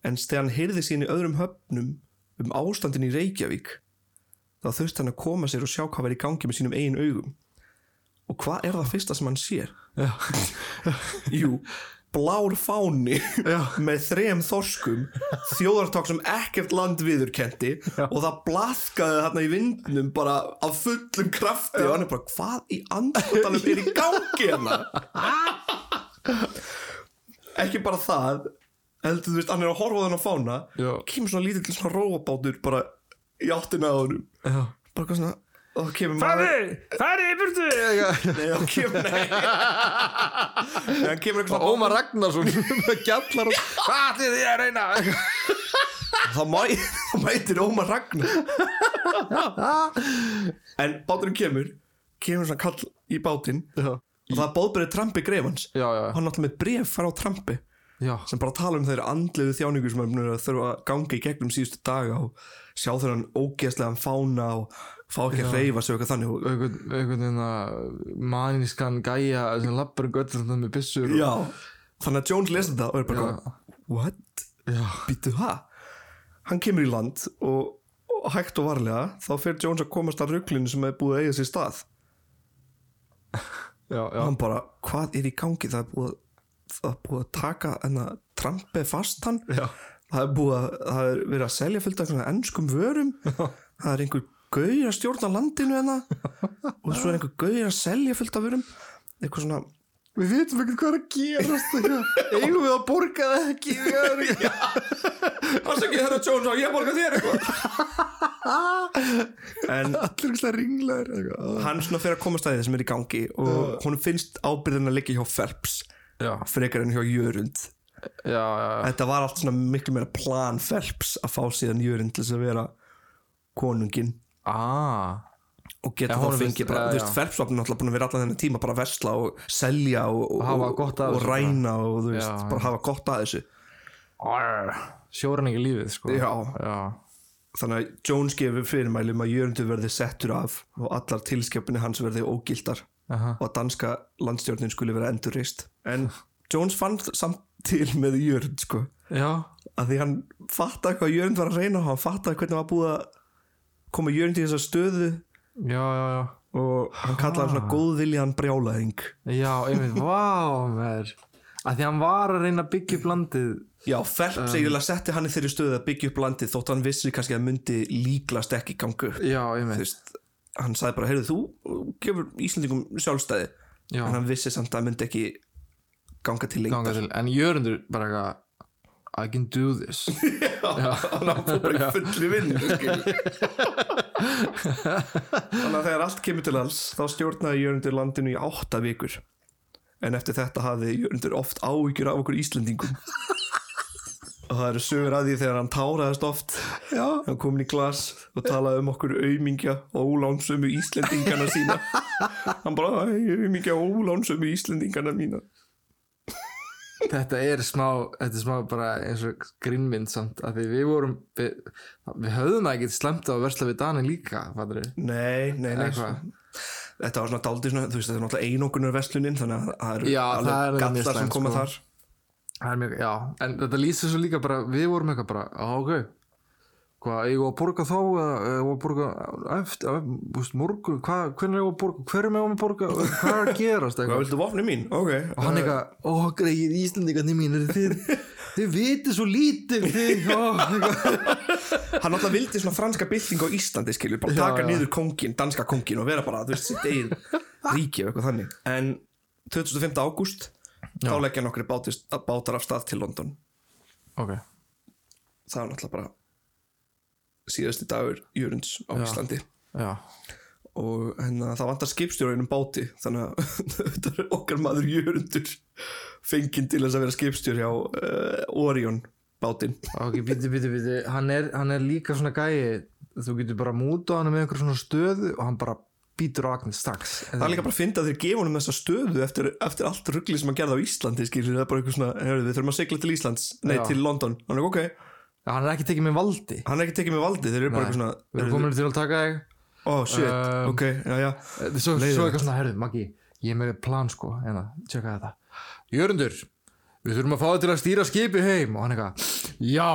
S2: en þegar hann heyrði sín í öðrum höfnum um ástandin í Reykjavík þá þurfti hann að koma sér og sjá hvað verið í gangi með sínum eigin augum og hvað er það fyrsta sem hann sér?
S4: Já,
S2: <laughs> Jú, blár fáni
S4: Já.
S2: með þrem þorskum þjóðartak sem ekkert land viðurkendi og það blaðkaði þarna í vindnum bara af fullum krafti og hann er bara, hvað í anskotanum er í gangi
S4: <laughs>
S2: hérna? Ekki bara það heldur þú veist, hann er að horfa á þennan fána
S4: Já.
S2: kemur svona lítill svona róabátur bara í áttina á honum
S4: já
S2: bara eitthvað svona og kemur
S4: Færi, burtu
S2: Nei, þá kemur, nei Nei, hann kemur eitthvað svona
S4: Ómar Ragnarsson með gjallar og Hvað ætlið þið að reyna?
S2: þá mæ- þá mætir Ómar Ragnar en báturinn kemur kemur svona kall í bátinn
S4: Já,
S2: og það er bóðberið Trampi Grefans
S4: já, já,
S2: hann náttúrulega með bref fara á Trampi
S4: já,
S2: sem bara tala um þeirra andlegu þjáningu sem er búin að þurfa að ganga í gegnum síðustu daga og sjá þeirra ógeðslegan fána og fá ekki að reyfa sig og eitthvað þannig og,
S4: einhvern einhvern veginn manískan gæja sem lappar um göttur með byssur og-
S2: já, þannig að Jones lesa þetta og er bara eitthvað, what?
S4: já,
S2: býtu það hann kemur í land og, og hægt og varlega þá fer Jones að komast að rugglinu sem er búið að eiga sér stað
S4: já, já,
S2: hann bara, hvað er í gangi það er búið, það er búið að taka enna trampið fast hann
S4: Já.
S2: það er búið að það er verið að selja fullt af svona ennskum vörum það er einhver gauðir að stjórna landinu hennar
S4: <laughs>
S2: og svo er einhver gauðir að selja fullt af vörum eitthvað svona
S4: Við veitum ekkert hvað er að gerast ekki? Eigum við að borga það ekki Við erum ekki
S2: Það er ekki herra Jones og ég borga þér
S4: <laughs>
S2: eitthvað En
S4: allir ekki ringlaður eitthvað.
S2: hann svona fyrir að komast að því sem er í gangi og hún finnst ábyrðin að liggja hjá Phelps
S4: Já,
S2: frekar en hjá Jörund
S4: já, já,
S2: Þetta var allt svona miklu meira plan Phelps að fá síðan Jörund til þess að vera konungin
S4: ah,
S2: og geta
S4: Já,
S2: þá
S4: honum finnst-
S2: fengið bara,
S4: já,
S2: þú veist,
S4: já.
S2: Phelpsvapnin alltaf búin að vera allan þennan tíma bara að versla og selja og, og,
S4: hafa
S2: og,
S4: gott af
S2: og
S4: þessu bara.
S2: ræna og þú veist,
S4: Já,
S2: bara hafa gott að þessu
S4: Sjóran ekki lífið sko.
S2: Já.
S4: já.
S2: þannig að Jones gefur fyrirmæli um að Jörundur verði settur af og allar tilskjöpunni hans verði ógildar
S4: Aha.
S2: og að danska landstjórnin skuli vera endurist en Jones fann samt til með Jörund sko,
S4: já,
S2: að því hann fattaði hvað Jörund var að reyna og hann fattaði hvernig hann var búið að koma Jörund í þessa stöðu
S4: já, já, já
S2: og hann kallaði hann svona góðviljan brjálaðing
S4: Já, einmitt, vá mér að því hann var að reyna að byggja upp landið
S2: Já, Phelps eiginlega setti hann í þeirri stöðu að byggja upp landið þótt hann vissi kannski að myndi líklast ekki gangu upp
S4: Já, einmitt
S2: Þú veist, hann sagði bara, heyrðu þú gefur Íslandingum sjálfstæði
S4: Já.
S2: en hann vissi samt að það myndi ekki ganga til
S4: ganga
S2: lengdar
S4: til, en Jörundur bara eitthvað I can do this <laughs>
S2: Já, hann áfór bara í fulli vinn þannig að þegar allt kemur til alls þá stjórnaði Jörundur landinu í átta vikur en eftir þetta hafði Jörundur oft áhyggjur af okkur Íslandingum og það eru sögur að því þegar hann táraðist oft
S4: Já,
S2: hann kom inn í glas og talaði um okkur auðmingja og ólánsömu Íslendingana sína hann bara auðmingja og ólánsömu Íslendingana mína
S4: þetta er smá þetta er smá bara eins og grinnmynd samt að því við vorum við, við höfðum það ekki slemt á að versla við Dani líka fattur við
S2: nei, nei, nei þetta var svona daldið svona, þú veist þetta er náttúrulega einokunar verslunin þannig að það eru
S4: Já, það er alveg mjög
S2: gallar sem
S4: slæmt,
S2: koma
S4: sko.
S2: þar
S4: Það er mjög, já, en þetta lýsir svo líka bara, við vorum eitthvað bara, á, ok, hvað, eigum við að borga þá, eða eigum við að borga eftir, að, búst, morgun, hvað, hvernig eigum við að borga, hverjum eigum við að borga, og hvað er að gerast,
S2: hvað
S4: eitthvað.
S2: viltu vopni mín? ok
S4: Og hann eitthvað, ó, greið, Íslandingarnir mínir, þið, þið vitið svo lítið,
S2: <laughs>
S4: þið, ó, eitthvað.
S2: hann alltaf vildi svona franska bylting á Íslandi skilur, bara
S4: Já,
S2: taka
S4: já.
S2: niður kongin, danska kongin og vera bara, þú veist, sitt
S4: <laughs>
S2: eigin ríki og eitthvað þannig en 25. ágúst þá leggja nokkri bátist, bátar af stað til London
S4: Ok,
S2: það er náttúrulega bara síðasti dagur Jörunds á Íslandi
S4: já,
S2: og hérna, það vantar skipstjórainum báti þannig að <laughs> þetta er okkar maður Jörundur fenginn til þess að vera skipstjór hjá uh, Orion bátinn
S4: ok, býti, býti, býti, hann er, hann er líka svona gæi, þú getur bara mútað hann með einhver svona stöðu og hann bara býtur á agnið strax.
S2: það er líka bara að finna að þeir gefa honum þessa stöðu eftir, eftir allt ruggli sem hann gerði á Íslandi skilur það er bara eitthvað svona, heyrðu, við þurfum að sigla til Íslands nei,
S4: Já.
S2: til London, hann er ok hann
S4: Hann er ekki tekið með valdi.
S2: er ekki tekið með valdi, þeir eru bara eitthvað svona
S4: Við erum
S2: heyrðu,
S4: komin til að taka þig.
S2: oh shit,
S4: Um,
S2: ok, já já
S4: Þetta er svo, svo eitthvað svona, herðu, Maggi, ég er með plan sko, en að tjekka þetta. Jörundur, við þurfum að fá þig til að stýra skipi heim og hann eitthvað, já,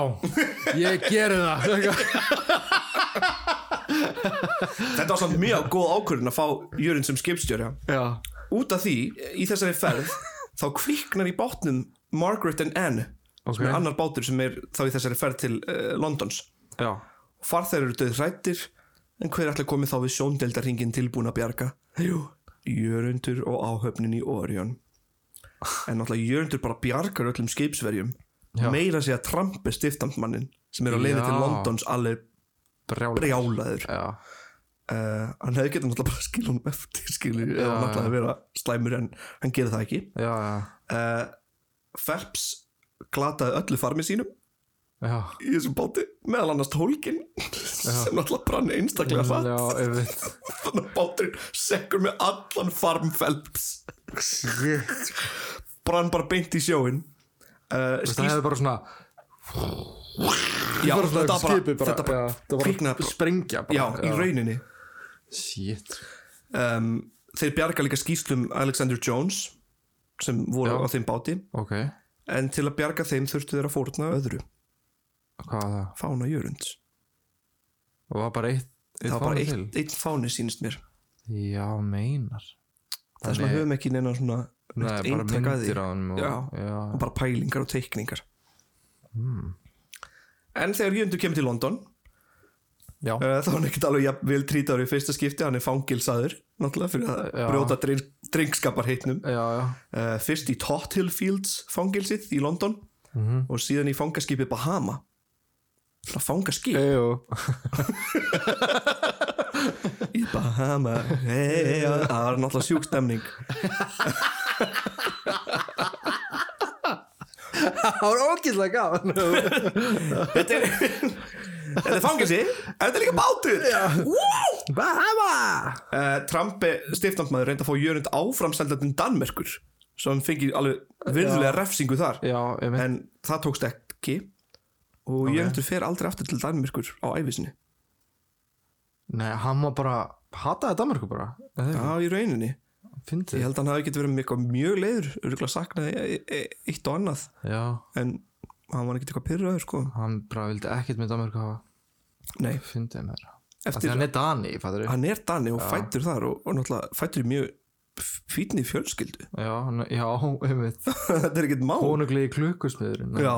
S4: ég geri það. Eitthvað.
S2: þetta var samt mjög góð ákvörðin að fá Jörund sem skipstjóra
S4: Já,
S2: út af því í þessari ferð þá kviknar í bátnum Margaret and Anne
S4: Ok.
S2: sem er annar bátur sem er þá í þessari ferð til uh, Londons
S4: já,
S2: og farþær eru döð hrættir en hver ætla að komi þá við sjóndeldarringin tilbúin að bjarga Jú, Jörundur og áhöfnin í Orion en náttúrulega Jörundur bara bjargar öllum skipsverjum
S4: Já.
S2: meira sé að trampi stiftamtmannin sem er á leiði
S4: Já. Eh.
S2: til Londons alveg
S4: brjálega.
S2: brjálaður
S4: Já,
S2: uh, hann hefði getað náttúrulega bara skil hún eftir skilu eða
S4: Já,
S2: hann ætlaði að vera slæmur en hann gerir það ekki
S4: já,
S2: uh, Phelps glataði öllu farmi sínum
S4: já, já,
S2: í þessum báti, meðal annars tólkin sem náttúrulega brann einstaklega fatt
S4: já, einmitt.
S2: þannig að báturinn sekkur með allan farm Phelps
S4: Shit.
S2: brann bara beint í sjóin uh,
S4: Það
S2: skýst,
S4: hefði bara svona,
S2: já,
S4: bara svona
S2: þetta bara,
S4: skipið bara,
S2: þetta bara,
S4: já, þetta bara
S2: kviknaði bara-
S4: sprengja bara.
S2: já, í rauninni
S4: Shit.
S2: um, þeir bjarga líka skýslum Alexander Jones sem voru
S4: Já.
S2: á þeim báti
S4: Ok,
S2: en til að bjarga þeim þurftu þeir að fórna öðru
S4: hvað var það?
S2: fána Jörunds
S4: Það var bara eitt, eitt
S2: það var bara
S4: fáni
S2: eitt, eitt fáni sínist mér
S4: til. Já, meinar.
S2: þess vegna
S4: Þannig-
S2: höfum ekki neina svona
S4: Nei, bara
S2: eintak að því.
S4: myndir á hann og,
S2: Já.
S4: já, Hmm.
S2: og bara pælingar og teikningar en þegar Jöndur kemur til London
S4: já,
S2: uh, þá er hann ekkert alveg jafn, vel trítar í fyrsta skipti, hann er fangilsaður náttúrulega fyrir að
S4: Já.
S2: brjóta dreng, drengskapar heitnum
S4: já, já,
S2: uh, fyrst í Tothill Fields fangilsið í London
S4: Mhm.
S2: og síðan í fangaskipi Bahama svona fangaskip
S4: já, já. Eh.
S2: í Bahama hey, hey, hey, það var náttúrulega sjúkstemning
S4: það var ógæslega gaman
S2: þetta er þetta er fangelsi en þetta er líka bátur wow!
S4: Bahama
S2: uh, Trump stiftandmaður reyndi að fá Jörund áfram sendandinn Danmerkur svo hann fengi alveg virðulega refsingu þar
S4: já, ég veit,
S2: en það tókst ekki og okay. Jörundur fer aldrei aftur til Danmerkur á æfisinni
S4: nei, hann var bara hataði Danmarku bara,
S2: já, í rauninni
S4: finnst
S2: Ég
S4: þið
S2: held að hann hafi getið verið með eitthvað mjög leiður örgulega saknaði e- e- eitt og annað
S4: já,
S2: en hann var ekkert eitthvað pyrraður sko
S4: hann bara vildi ekkert með Danmarku hafa
S2: Nei,
S4: finnst þið mér
S2: Eftir-
S4: Eftir, hann er Dani, fattur
S2: hann er danni og fættur þar og, og náttúrulega fættur í mjög fýtni fjölskyldu <laughs>
S4: já, hann- já, ég veit
S2: þetta er ekkert mál
S4: Ónuglegi klukkusmiðurinn
S2: Já.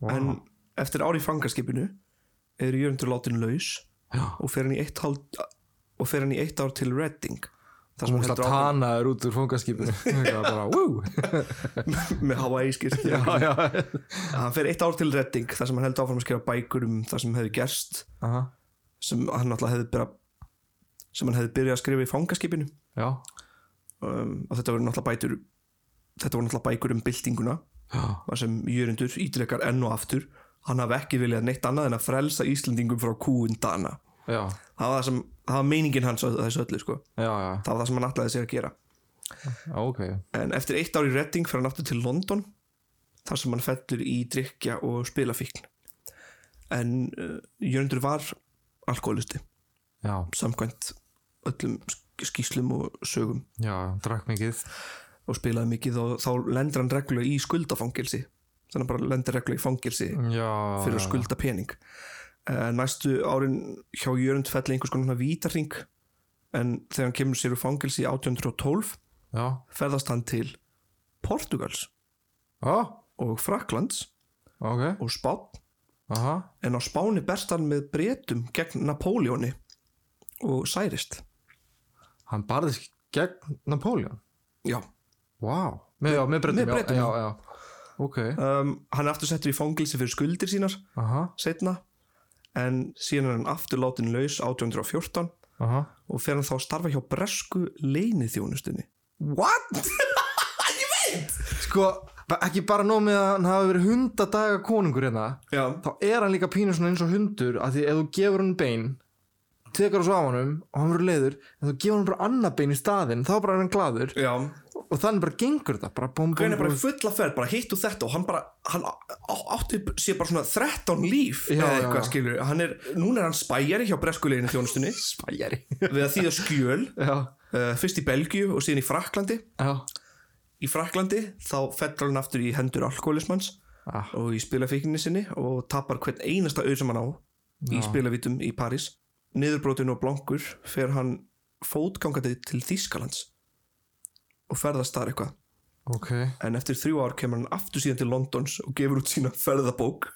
S4: Vá.
S2: en eftir ári í fangaskipinu er Jörndur látin laus
S4: Já.
S2: og fer hann í eitt hál og fer hann í eitt ár til Redding þar sem
S4: Hún
S2: hann
S4: slá
S2: heldur áfram
S4: tanaður út úr
S2: <laughs>
S4: fangaskipinu Það var bara, wú
S2: með Hawaii skýrst
S4: Já, já
S2: hann fer eitt ár til Redding þar sem hann heldur áfram að skrifa bækur um það sem hefði gerst
S4: Aha,
S2: sem hann náttúrulega hefði byrja, sem hann hefði byrjað að skrifa í fangaskipinu
S4: Já,
S2: um, og þetta voru náttúrulega bætur þetta voru náttúrulega bækur um byltinguna
S4: já,
S2: þar sem Jörundur ítrekar enn og aftur hann hafði ekki viljað neitt annað en að frelsa Íslendingum frá kúin Dana
S4: já,
S2: það var, það sem, það var meiningin hans að þessu öllu sko.
S4: já, já,
S2: það var það sem hann ætlaði sér að gera
S4: já, ok
S2: en eftir eitt ár í Redding fyrir hann aftur til London þar sem hann fellur í drikja og spilafíkn en uh, Jörundur var alkoholisti
S4: Já,
S2: samkvæmt öllum sk- skýslum og sögum
S4: já, drakk mikið
S2: og spilaði mikið og þá lendur hann reglulega í skuldafangilsi þannig að bara lendur reglulega í fangilsi
S4: Já
S2: fyrir að skulda pening Eh, næstu árin hjá Jörund felli einhvers konar vítarring en þegar hann kemur sér úr fangilsi í 1812
S4: Já,
S2: ferðast hann til Portugals
S4: já,
S2: og Fraklands
S4: ok
S2: og Spán
S4: Aha,
S2: en á Spáni berst hann með breytum gegn Napóleoni og særist
S4: hann barðist gegn Napoleon
S2: já
S4: Vá, með, já, með brettum
S2: Með Bretum,
S4: já, já, já, ok
S2: um, hann er aftur settur í fangilsi fyrir skuldir sínar
S4: Aha,
S2: setna en síðan er hann aftur látin laus 1814
S4: aha
S2: og fer hann þá að starfa hjá bresku leiniþjónustunni
S4: What? sko, ba- ekki bara nóg með að hann hafi verið hundadaga konungur hérna
S2: já
S4: þá er hann líka pínur svona eins og hundur af því ef þú gefur hann bein tekur þessu af honum og hann verður leiður en þú gefur hann bara annað bein í staðinn þá bara er hann gladur
S2: já
S4: og þannig bara gengur þetta bara bom, bom,
S2: Gauðin er bara
S4: bom.
S2: í fulla ferð, bara hittu þetta og hann bara, hann á- á- átti sér bara svona 13 líf
S4: Já,
S2: eða
S4: já,
S2: eitthvað
S4: já.
S2: skilur, hann er, núna er hann spæjari hjá breskuleginu þjónustunni
S4: <laughs> spæjari
S2: við að þýða skjöl,
S4: já,
S2: uh, fyrst í Belgíu og síðan í Fraklandi
S4: já,
S2: í Fraklandi þá fellur hann aftur í hendur alkoholismans
S4: Ah.
S2: og í spilafíkinni sinni og tapar hvern einasta auð sem hann á í spilavítum í París niðurbrotin og blankur fer hann fótgangandi til Þýskalands og ferðast þar eitthvað
S4: ok
S2: en eftir þrjú ár kemur hann aftur síðan til Londons og gefur út sína ferðabók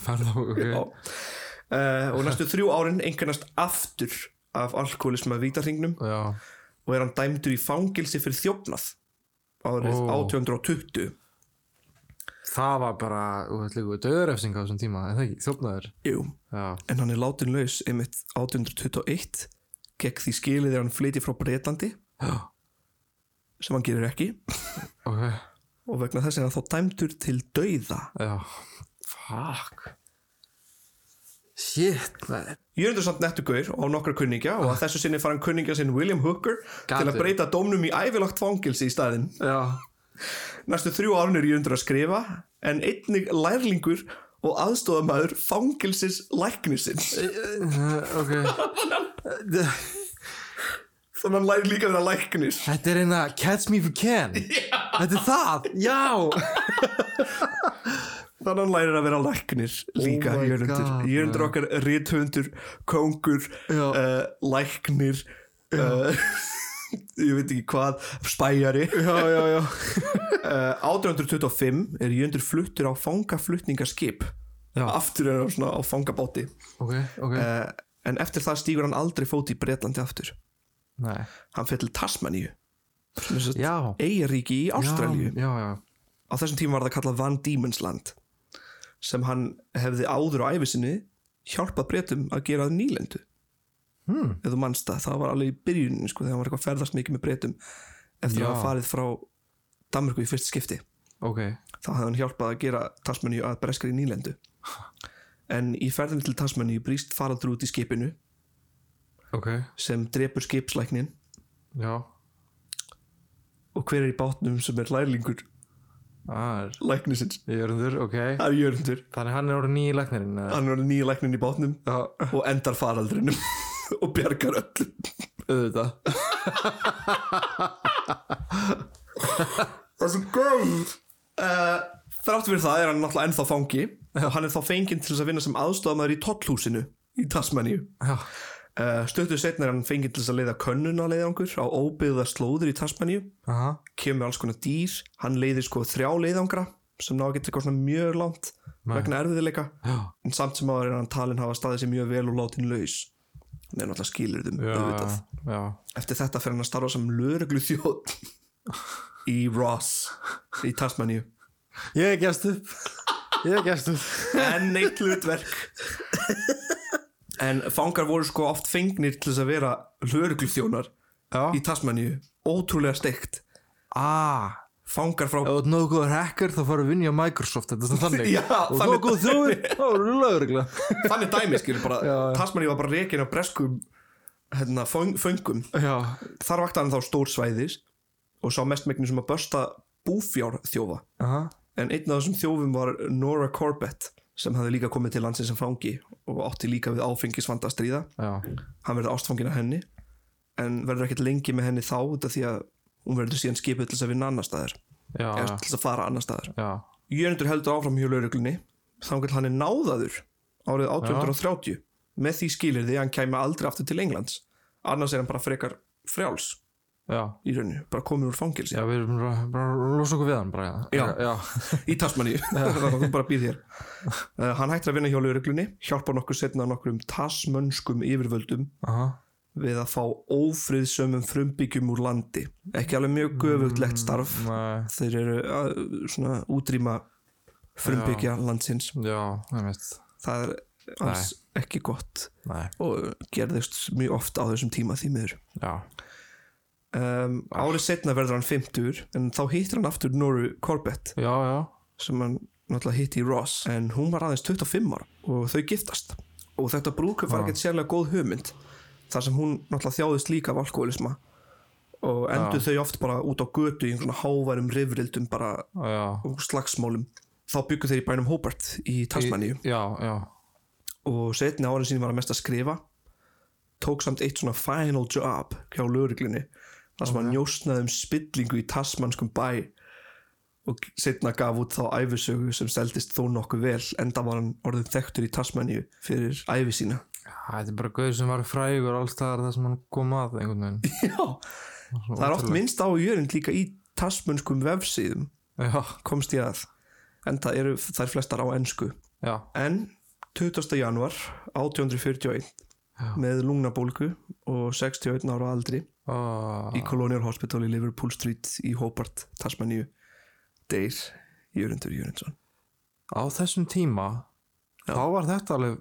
S4: ferða, ok
S2: Já. uh, og næstu þrjú árin einhvernast aftur af alkoholisma vítarhingnum
S4: já,
S2: og er hann dæmdur í fangilsi fyrir þjófnað árið
S4: Ó.
S2: 1820
S4: það var bara þú veit líka döðrefsing á þessum tíma en það ekki, þjófnaður
S2: Jú.
S4: já,
S2: en hann er látin laus einmitt 1821 gegn því skilið þegar hann flytja frá Breitlandi
S4: já,
S2: sem hann gerir ekki
S4: ok
S2: og vegna þess er hann þá dæmdur til dauða
S4: já, fuck shit, maður
S2: Jörundur samt nettugur og á nokkra kunningja
S4: Ah.
S2: og að þessu sinni fara hann kunningja sinn William Hooker til
S4: Gatur.
S2: að breyta dómnum í ævilagt fangilsi í staðinn
S4: já,
S2: Næstu þrjú árin er Jöndur að skrifa en einnig lærlingur og aðstofamæður fangilsis læknisins.
S4: Eh, ok
S2: <laughs> Þannig að hann læri líka þeirra læknis.
S4: Þetta er eina Catch Me If You Can Þetta er það, já
S2: Þannig að hann lærir að vera læknir líka
S4: Oh my
S2: Jöndur.
S4: God,
S2: Jöndur okkar eh, rithundur, kongur,
S4: Já.
S2: uh, læknir, uh, <laughs> ég veit ekki hvað spæjari
S3: já, já,
S2: <laughs>
S3: já
S2: uh, 1825 er Jöndur fluttur á fangaflutningaskip
S4: Já.
S2: aftur er hann svona á fangabáti
S4: ok, ok
S2: uh, en eftir það stígur hann aldrei fóti í Bretlandi aftur
S4: Nei.
S2: hann fyrir til Tasmaníu
S4: Já.
S2: eigaríki í Ástralíu
S4: já, já, já,
S2: á þessum tíma var það kallað Van Diemen's Land sem hann hefði áður á æfisinni hjálpað breytum að gera að nýlendu hmm. ef þú manst það, það var alveg í byrjunin sko, þegar hann var eitthvað að ferðast mikið með breytum eftir
S4: Já.
S2: að hafa farið frá Danmörku í fyrst skipti
S4: ok
S2: þá hafði hann hjálpað að gera Tasmaníu að breskari nýlendu en í ferðinni til Tasmaníu brýst faraldur út í skipinu
S4: ok,
S2: sem drepur skipslæknin
S4: já
S2: og hver er í bátnum sem er lærlingur
S4: það er
S2: læknisins,
S4: Jörndur, ok
S2: það er Jörndur
S4: þannig hann er orðin nýi læknirinn eða?
S2: hann er nýja læknin í bátnum og endar faraldrinum og bjargar öllum auðvitað það er svo góð uh, þrátt fyrir það er hann náttúrulega ennþá fangi og hann er þá fenginn til þess að vinna sem aðstofamæður í tollhúsinu í Tasmaníu
S4: já,
S2: uh, stöttu setna er hann fenginn til þess að leiða könnun á leiðangur á óbyggða slóður í Tasmaníu
S4: aha,
S2: kemur alls konar dýr hann leiðir sko þrjá leiðangra sem ná að geta eitthvað svona mjög langt vegna erfiðileika
S4: já
S2: en samt sem áður er hann talin hafa staðið sér mjög vel og látin laus hann er náttúrulega skilur þeim
S4: já,
S2: auðvitað
S4: já,
S2: eftir þetta fer hann að starfa sem löruglu þjótt í Ross í Tasmaníu
S4: ég gefst upp ég gefst upp
S2: enn eitt hlutverk en fangar voru sko oft fengnir til þess að vera löruglu þjónar
S4: já,
S2: í Tasmaníu ótrúlega steikt Ah.
S4: aaa
S2: fangar frá
S4: Ef þú ert nógu góður hacker þá farið að vinja á Microsoft Þetta er svona þannig
S2: <laughs> Já,
S4: Þú ert
S2: þannig
S4: nógu góður þjóður þá eru
S2: <laughs>
S4: lögregla
S2: þannig dæmi skilur bara Tasmaníu var bara rekin á breskum hérna, föng, föngum
S4: Já,
S2: þar vakti hann þá stór svæðis og sá mestmegnin sem að börsta búfjár þjófa
S4: aha,
S2: en einn af þessum þjófum var Nora Corbett sem hafði líka komið til landsins sem fangi og átti líka við áfengisvanda að stríða
S4: já,
S2: hann verði ástfangin af henni en verður ekkert lengi með henni þá út af því að hún verður síðan skipið til þess að vinna annar staðar
S4: já,
S2: eða
S4: já,
S2: til þess að fara annar staðar
S4: já.
S2: Jönundur heldur áfram hjá lauruglunni þannig að hann er náðaður árið 1830 með því skilur því að hann kæmi aldrei aftur til Englands annars er hann bara frekar frjáls
S4: Já,
S2: í rauninu, bara komið úr fangilsi
S4: já, við erum bara, bara að losa okkur við hann bara
S2: Já.
S4: já,
S2: í Tasmaníu, <laughs> þannig að þú bara býð hér uh, hann hættir að vinna hjá lauruglunni hjálpar nokkuð setna nokkrum tasmönskum yfirvöldum
S4: aha,
S2: við að fá ófriðsömmum frumbyggjum úr landi ekki alveg mjög göfuglegt starf
S4: nei,
S2: þeir eru að svona útrýma frumbyggja landsins
S4: já, ég veist
S2: það er alls ekki gott
S4: Nei,
S2: og gerðist mjög oft á þessum tíma því miður
S4: já,
S2: um, árið setna verður hann 50 en þá hittir hann aftur Noru Corbett
S4: já, já,
S2: sem hann náttúrulega hitti í Ross en hún var aðeins 25 ára og þau giftast og þetta brúkup var ekkert sérlega góð hugmynd þar sem hún náttúrulega þjáðist líka af alkoholisma og endur þau oft bara út á götu í einhvern háværum rifrildum bara
S4: já
S2: og slagsmálum þá byggu þeir í bænum Hobart í Tasmaníu
S4: Já, já,
S2: og setni árin sín var að mest að skrifa tók samt eitt svona final job hjá lögreglunni þar sem hann njósnaði um spillingu í tasmanskum bæ og setna gaf út þá æfisögu sem steltist þó nokkuð vel enda var hann orðin þekktur í Tasmaníu fyrir æfi sína
S4: þetta er bara gauður sem var frægur allstaðar þar sem hann kom að einhvern veginn
S2: Já, það er oft minnst á jörund líka í tasmanskum vefsíðum
S4: Já,
S2: komst ég að enda eru þær flestar á ensku
S4: já,
S2: En 20. januar 1841 með lungnabólgu og 61 ára aldri
S4: ó,
S2: í Colonial Hospital í Liverpool Street í Hobart, Tasmaníu deyr Jörundur Jörundsson
S4: á þessum tíma þá var þetta alveg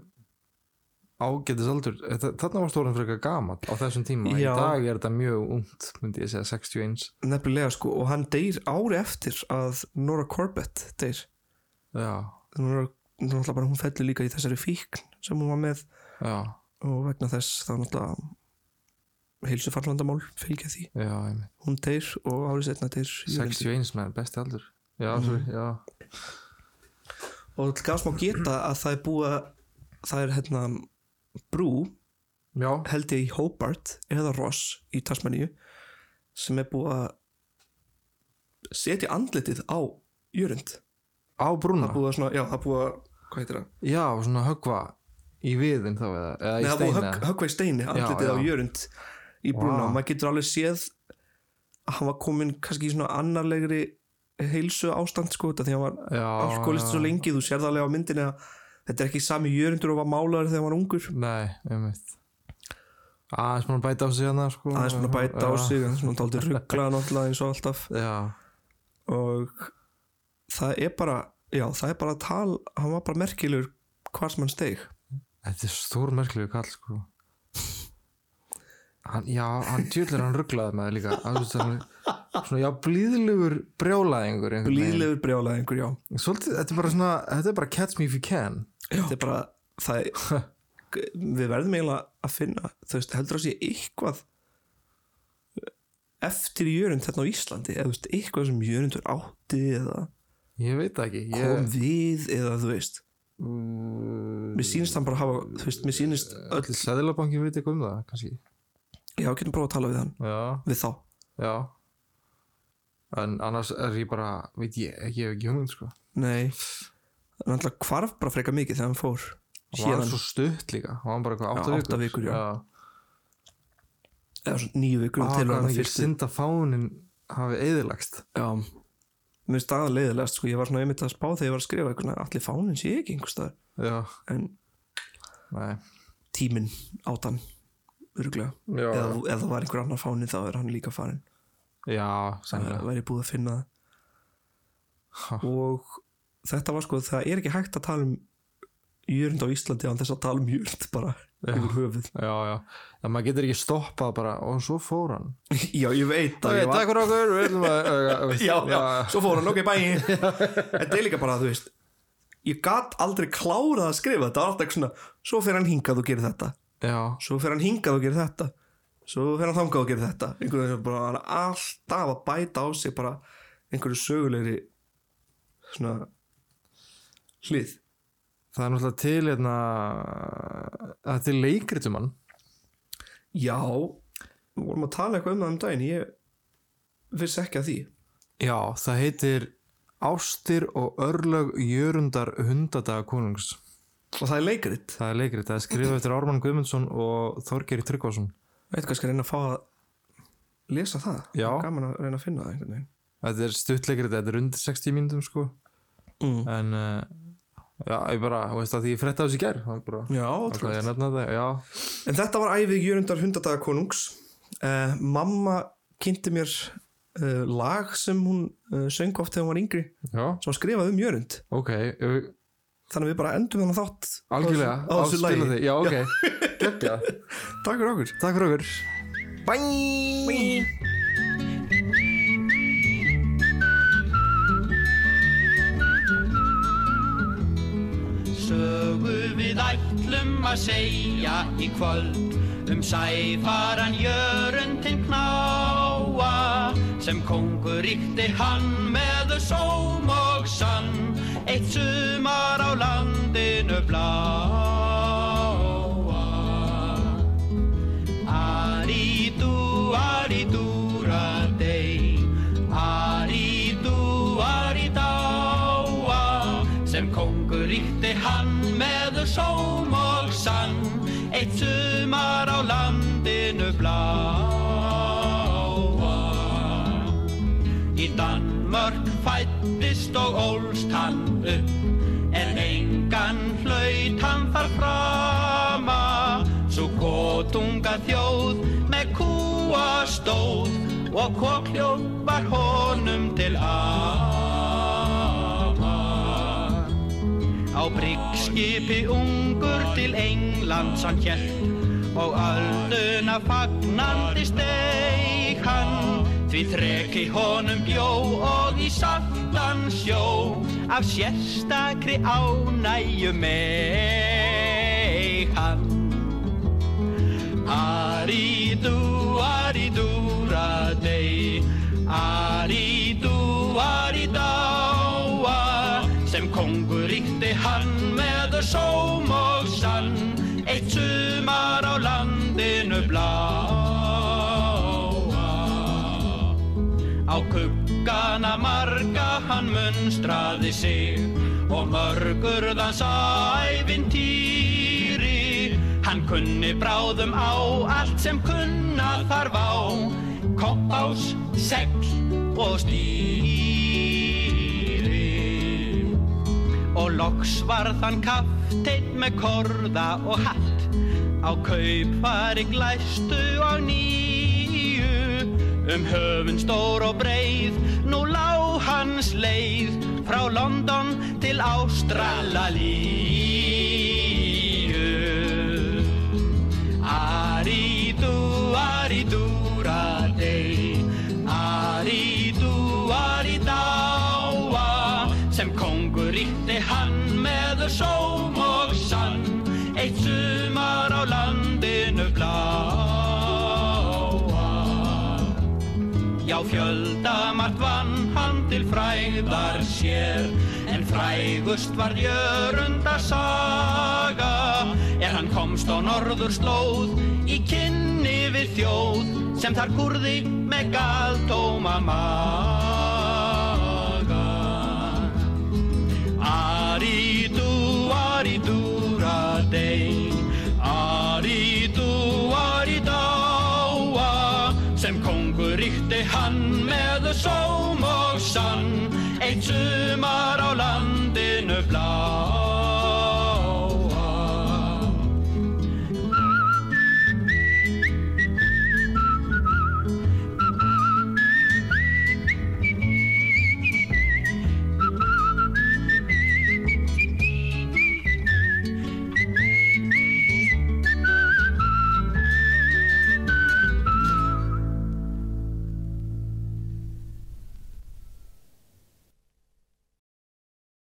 S4: ágætis aldur Þetta- þarna var stóran frekar gamall á þessum tíma
S2: Já.
S4: í dag er þetta mjög ungt myndi ég segja 61
S2: nefnilega sko og hann deyr ári eftir að Nora Corbett deyr
S4: já,
S2: Nora, náttúrulega bara hún fellur líka í þessari fíkn sem hún var með
S4: já,
S2: og vegna þess þá náttúrulega heilsu farlandamál fylgja því
S4: já, einmitt.
S2: hún deyr og árið setna deyr Jörundur
S4: 61 með besti aldur já,
S2: Mhm.
S4: sorry, já,
S2: og gafst má geta að það er búið að það er hérna brú
S4: já,
S2: held ég í Hobart eða Ross í Tasmaníu sem er búið að setja andlitið á Jörund
S4: á brúna
S2: búið að svona, já það er búið að hvað heitir það?
S4: já, svona höggva í viðin þá eða, eða
S2: Nei
S4: í
S2: það er búið að högg-
S4: steina
S2: höggva í steini andlitið
S4: já.
S2: á Jörund í brúna
S4: Vá.
S2: og maður getur alveg séð hann var kominn kannski í svona annarlegri heilsu ástand sko þetta því hann var
S4: Já,
S2: alkoholist svo lengi þú sér það alveg á myndinni að þetta er ekki sami jörundur og var málaður þegar hann var ungur
S4: Nei, einmitt Aðeins búin að bæta á sig hana sko.
S2: aðeins búin að bæta á
S4: Já,
S2: sig aðeins búin að taldi ruggla náttúrulega eins og alltaf
S4: Já,
S2: og það er bara já það er bara tal hann var bara merkilegur hvar sem hann steig
S4: þetta er stór merkilegu kall sko. hann, Já, hann djöðlir hann rugglaði með líka Að þú veist, hann- Svona, já, blíðlegur brjólaðingur einhvern veginn.
S2: blíðlegur brjálæðingur já
S4: Svolítið, þetta er bara svona Þetta er bara catch me if you can
S2: þetta er bara það er, við verðum eiginlega að finna þú veist heldur að sé eitthvað eftir jörund þarna á Íslandi eða þú veist eitthvað sem jörundur átti eða
S4: Ég veit það ekki
S2: kom
S4: ég,
S2: við eða þú veist mér sýnist hann bara hafa þú veist mér sýnist öll
S4: Allir sæðilabankin veit eitthvað um það, kannski
S2: já getum prófað að tala við hann
S4: Já,
S2: við þá
S4: já En annars er ég bara Veit ég, ég hef ekki hugmynd sko
S2: nei hann alltaf hvarf bara freka mikið þegar hann fór
S4: Hann var
S2: síðan
S4: svo stutt líka Hann var bara eitthvað
S2: Já,
S4: átta vikur
S2: átta vikur, já.
S4: já.
S2: eða svona nýju vikur
S4: Hann
S2: til
S4: var
S2: hann
S4: ekki
S2: fyrstu
S4: synd að fánin hafi eðilagst
S2: Já, mér finnst aðan leiðilegast sko, ég var svona einmitt að spá þegar ég var að skrifa eitthvað, allir fáninn sé ekki einhvers staðar,
S4: Já,
S2: en
S4: nei
S2: tíminn átan, öruglega,
S4: Já,
S2: eða, eða það var einhver annar fánin þá er hann líka farin,
S4: já
S2: þannig
S4: sannlega
S2: að væri búið að finna
S4: Ha.
S2: það og þetta var sko, það er ekki hægt að tala um jörund á Íslandi án þess að tala um jörund bara
S4: Já.
S2: yfir höfuð <laughs>
S4: Já, já Það maður getur ekki stoppað bara Og svo fór hann
S2: Já, ég veit að
S4: Ok,
S2: ég var
S4: Takk fyrir okkur við ætlum að- <laughs> að-
S2: já, já, svo fór hann, ok, bæ Þetta er líka bara, þú veist Ég gat aldrei klárað að skrifa þetta Það var alltaf svona, svo fer hann hingað og gerir þetta
S4: Já,
S2: Svo fer hann hingað og gerir þetta Svo fer hann þangað og gerir þetta Einhvern veginn bara hann er alltaf að bæta á sig bara einhverju sögulegri svona hlið
S4: það er náttúrulega til hérna, það er til leikritumann
S2: Já, við vorum að tala eitthvað um það um daginn Ég vissi ekki að því
S4: já, það heitir Ástir og örlög jörundar hundadaga konungs
S2: Og það er leikrit
S4: það er leikrit, það er skrifað eftir Ármann Guðmundsson og Þorgeri Tryggvason
S2: Veit hvað skal reyna að fá að lesa það
S4: Já.
S2: Gaman að reyna að finna það einhvern veginn
S4: þetta er stutt leikrit, þetta er undir 60 mínútum sko
S2: Mm.
S4: en uh, já, ég bara, þú veist að því ég frétta þessi gær það er bara,
S2: Já,
S4: ok, ég nefna það, já
S2: En þetta var æfið Jörundar hundadaga konungs. Uh, mamma kynnti mér uh, lag sem hún uh, söng oft þegar hún var yngri
S4: já,
S2: sem var skrifað um Jörund.
S4: ok, ég-
S2: Þannig að við bara endum þennan þátt á
S4: algjörlega
S2: þessu- á þessu
S4: áspila
S2: lagi.
S4: þig, já,
S2: <laughs>
S4: ok, geggja
S2: Takk fyrir okkur.
S4: takk fyrir okkur
S2: Bye.
S5: sögu við ætlum að segja í kvöld um sæfaran jörundin knáa sem kongur ríkti hann með sóm og sann eitt sumar á landinu bláa Aridu, aridu, radei Aridu, aridáa Sem kongur ríkti hann með sóm og sann Eitt sumar á landinu bláa Í Danmörk fættist og ólst hann upp En engan hlaut hann þar frama Svo kotunga þjóð með kúa stóð Og kokljóð var honum til ama Á bryggskipi ungur til Englands hann hjælt og ölduna fagnandi steig hann því þreki honum bjó og í saftan sjó af sérstakri ánægju meig hann Aridu, aridu, radei Aridu, aridáa Sem kongur ríkti hann með sóm og sann Eitt sumar á landinu bláa Á kuggana marga hann munstraði sig og mörgurðans ævintýri. Hann kunni bráðum á allt sem kunna þarf á, kompás, segl og stýri og loks var þann kaftinn með korða og hatt á kaupfari glæstu á nýju um höfun stór og breið nú lá hans leið frá London til Ástralalíu Aridu, aridu, radei Aridu, aridáa Sem kongur ríkti hann með sóm og sann Eitt sumar á landinu bláa Já, fjöldamart vann hann til fræðar sér En frægust var jörunda saga Er hann komst á norður slóð Í kynni við þjóð Sem þar kurði með galtóma maga Aridu, aridu, radei Aridu, aridáa Sem kongur ríkti hann með sóm og sann Eitt sumar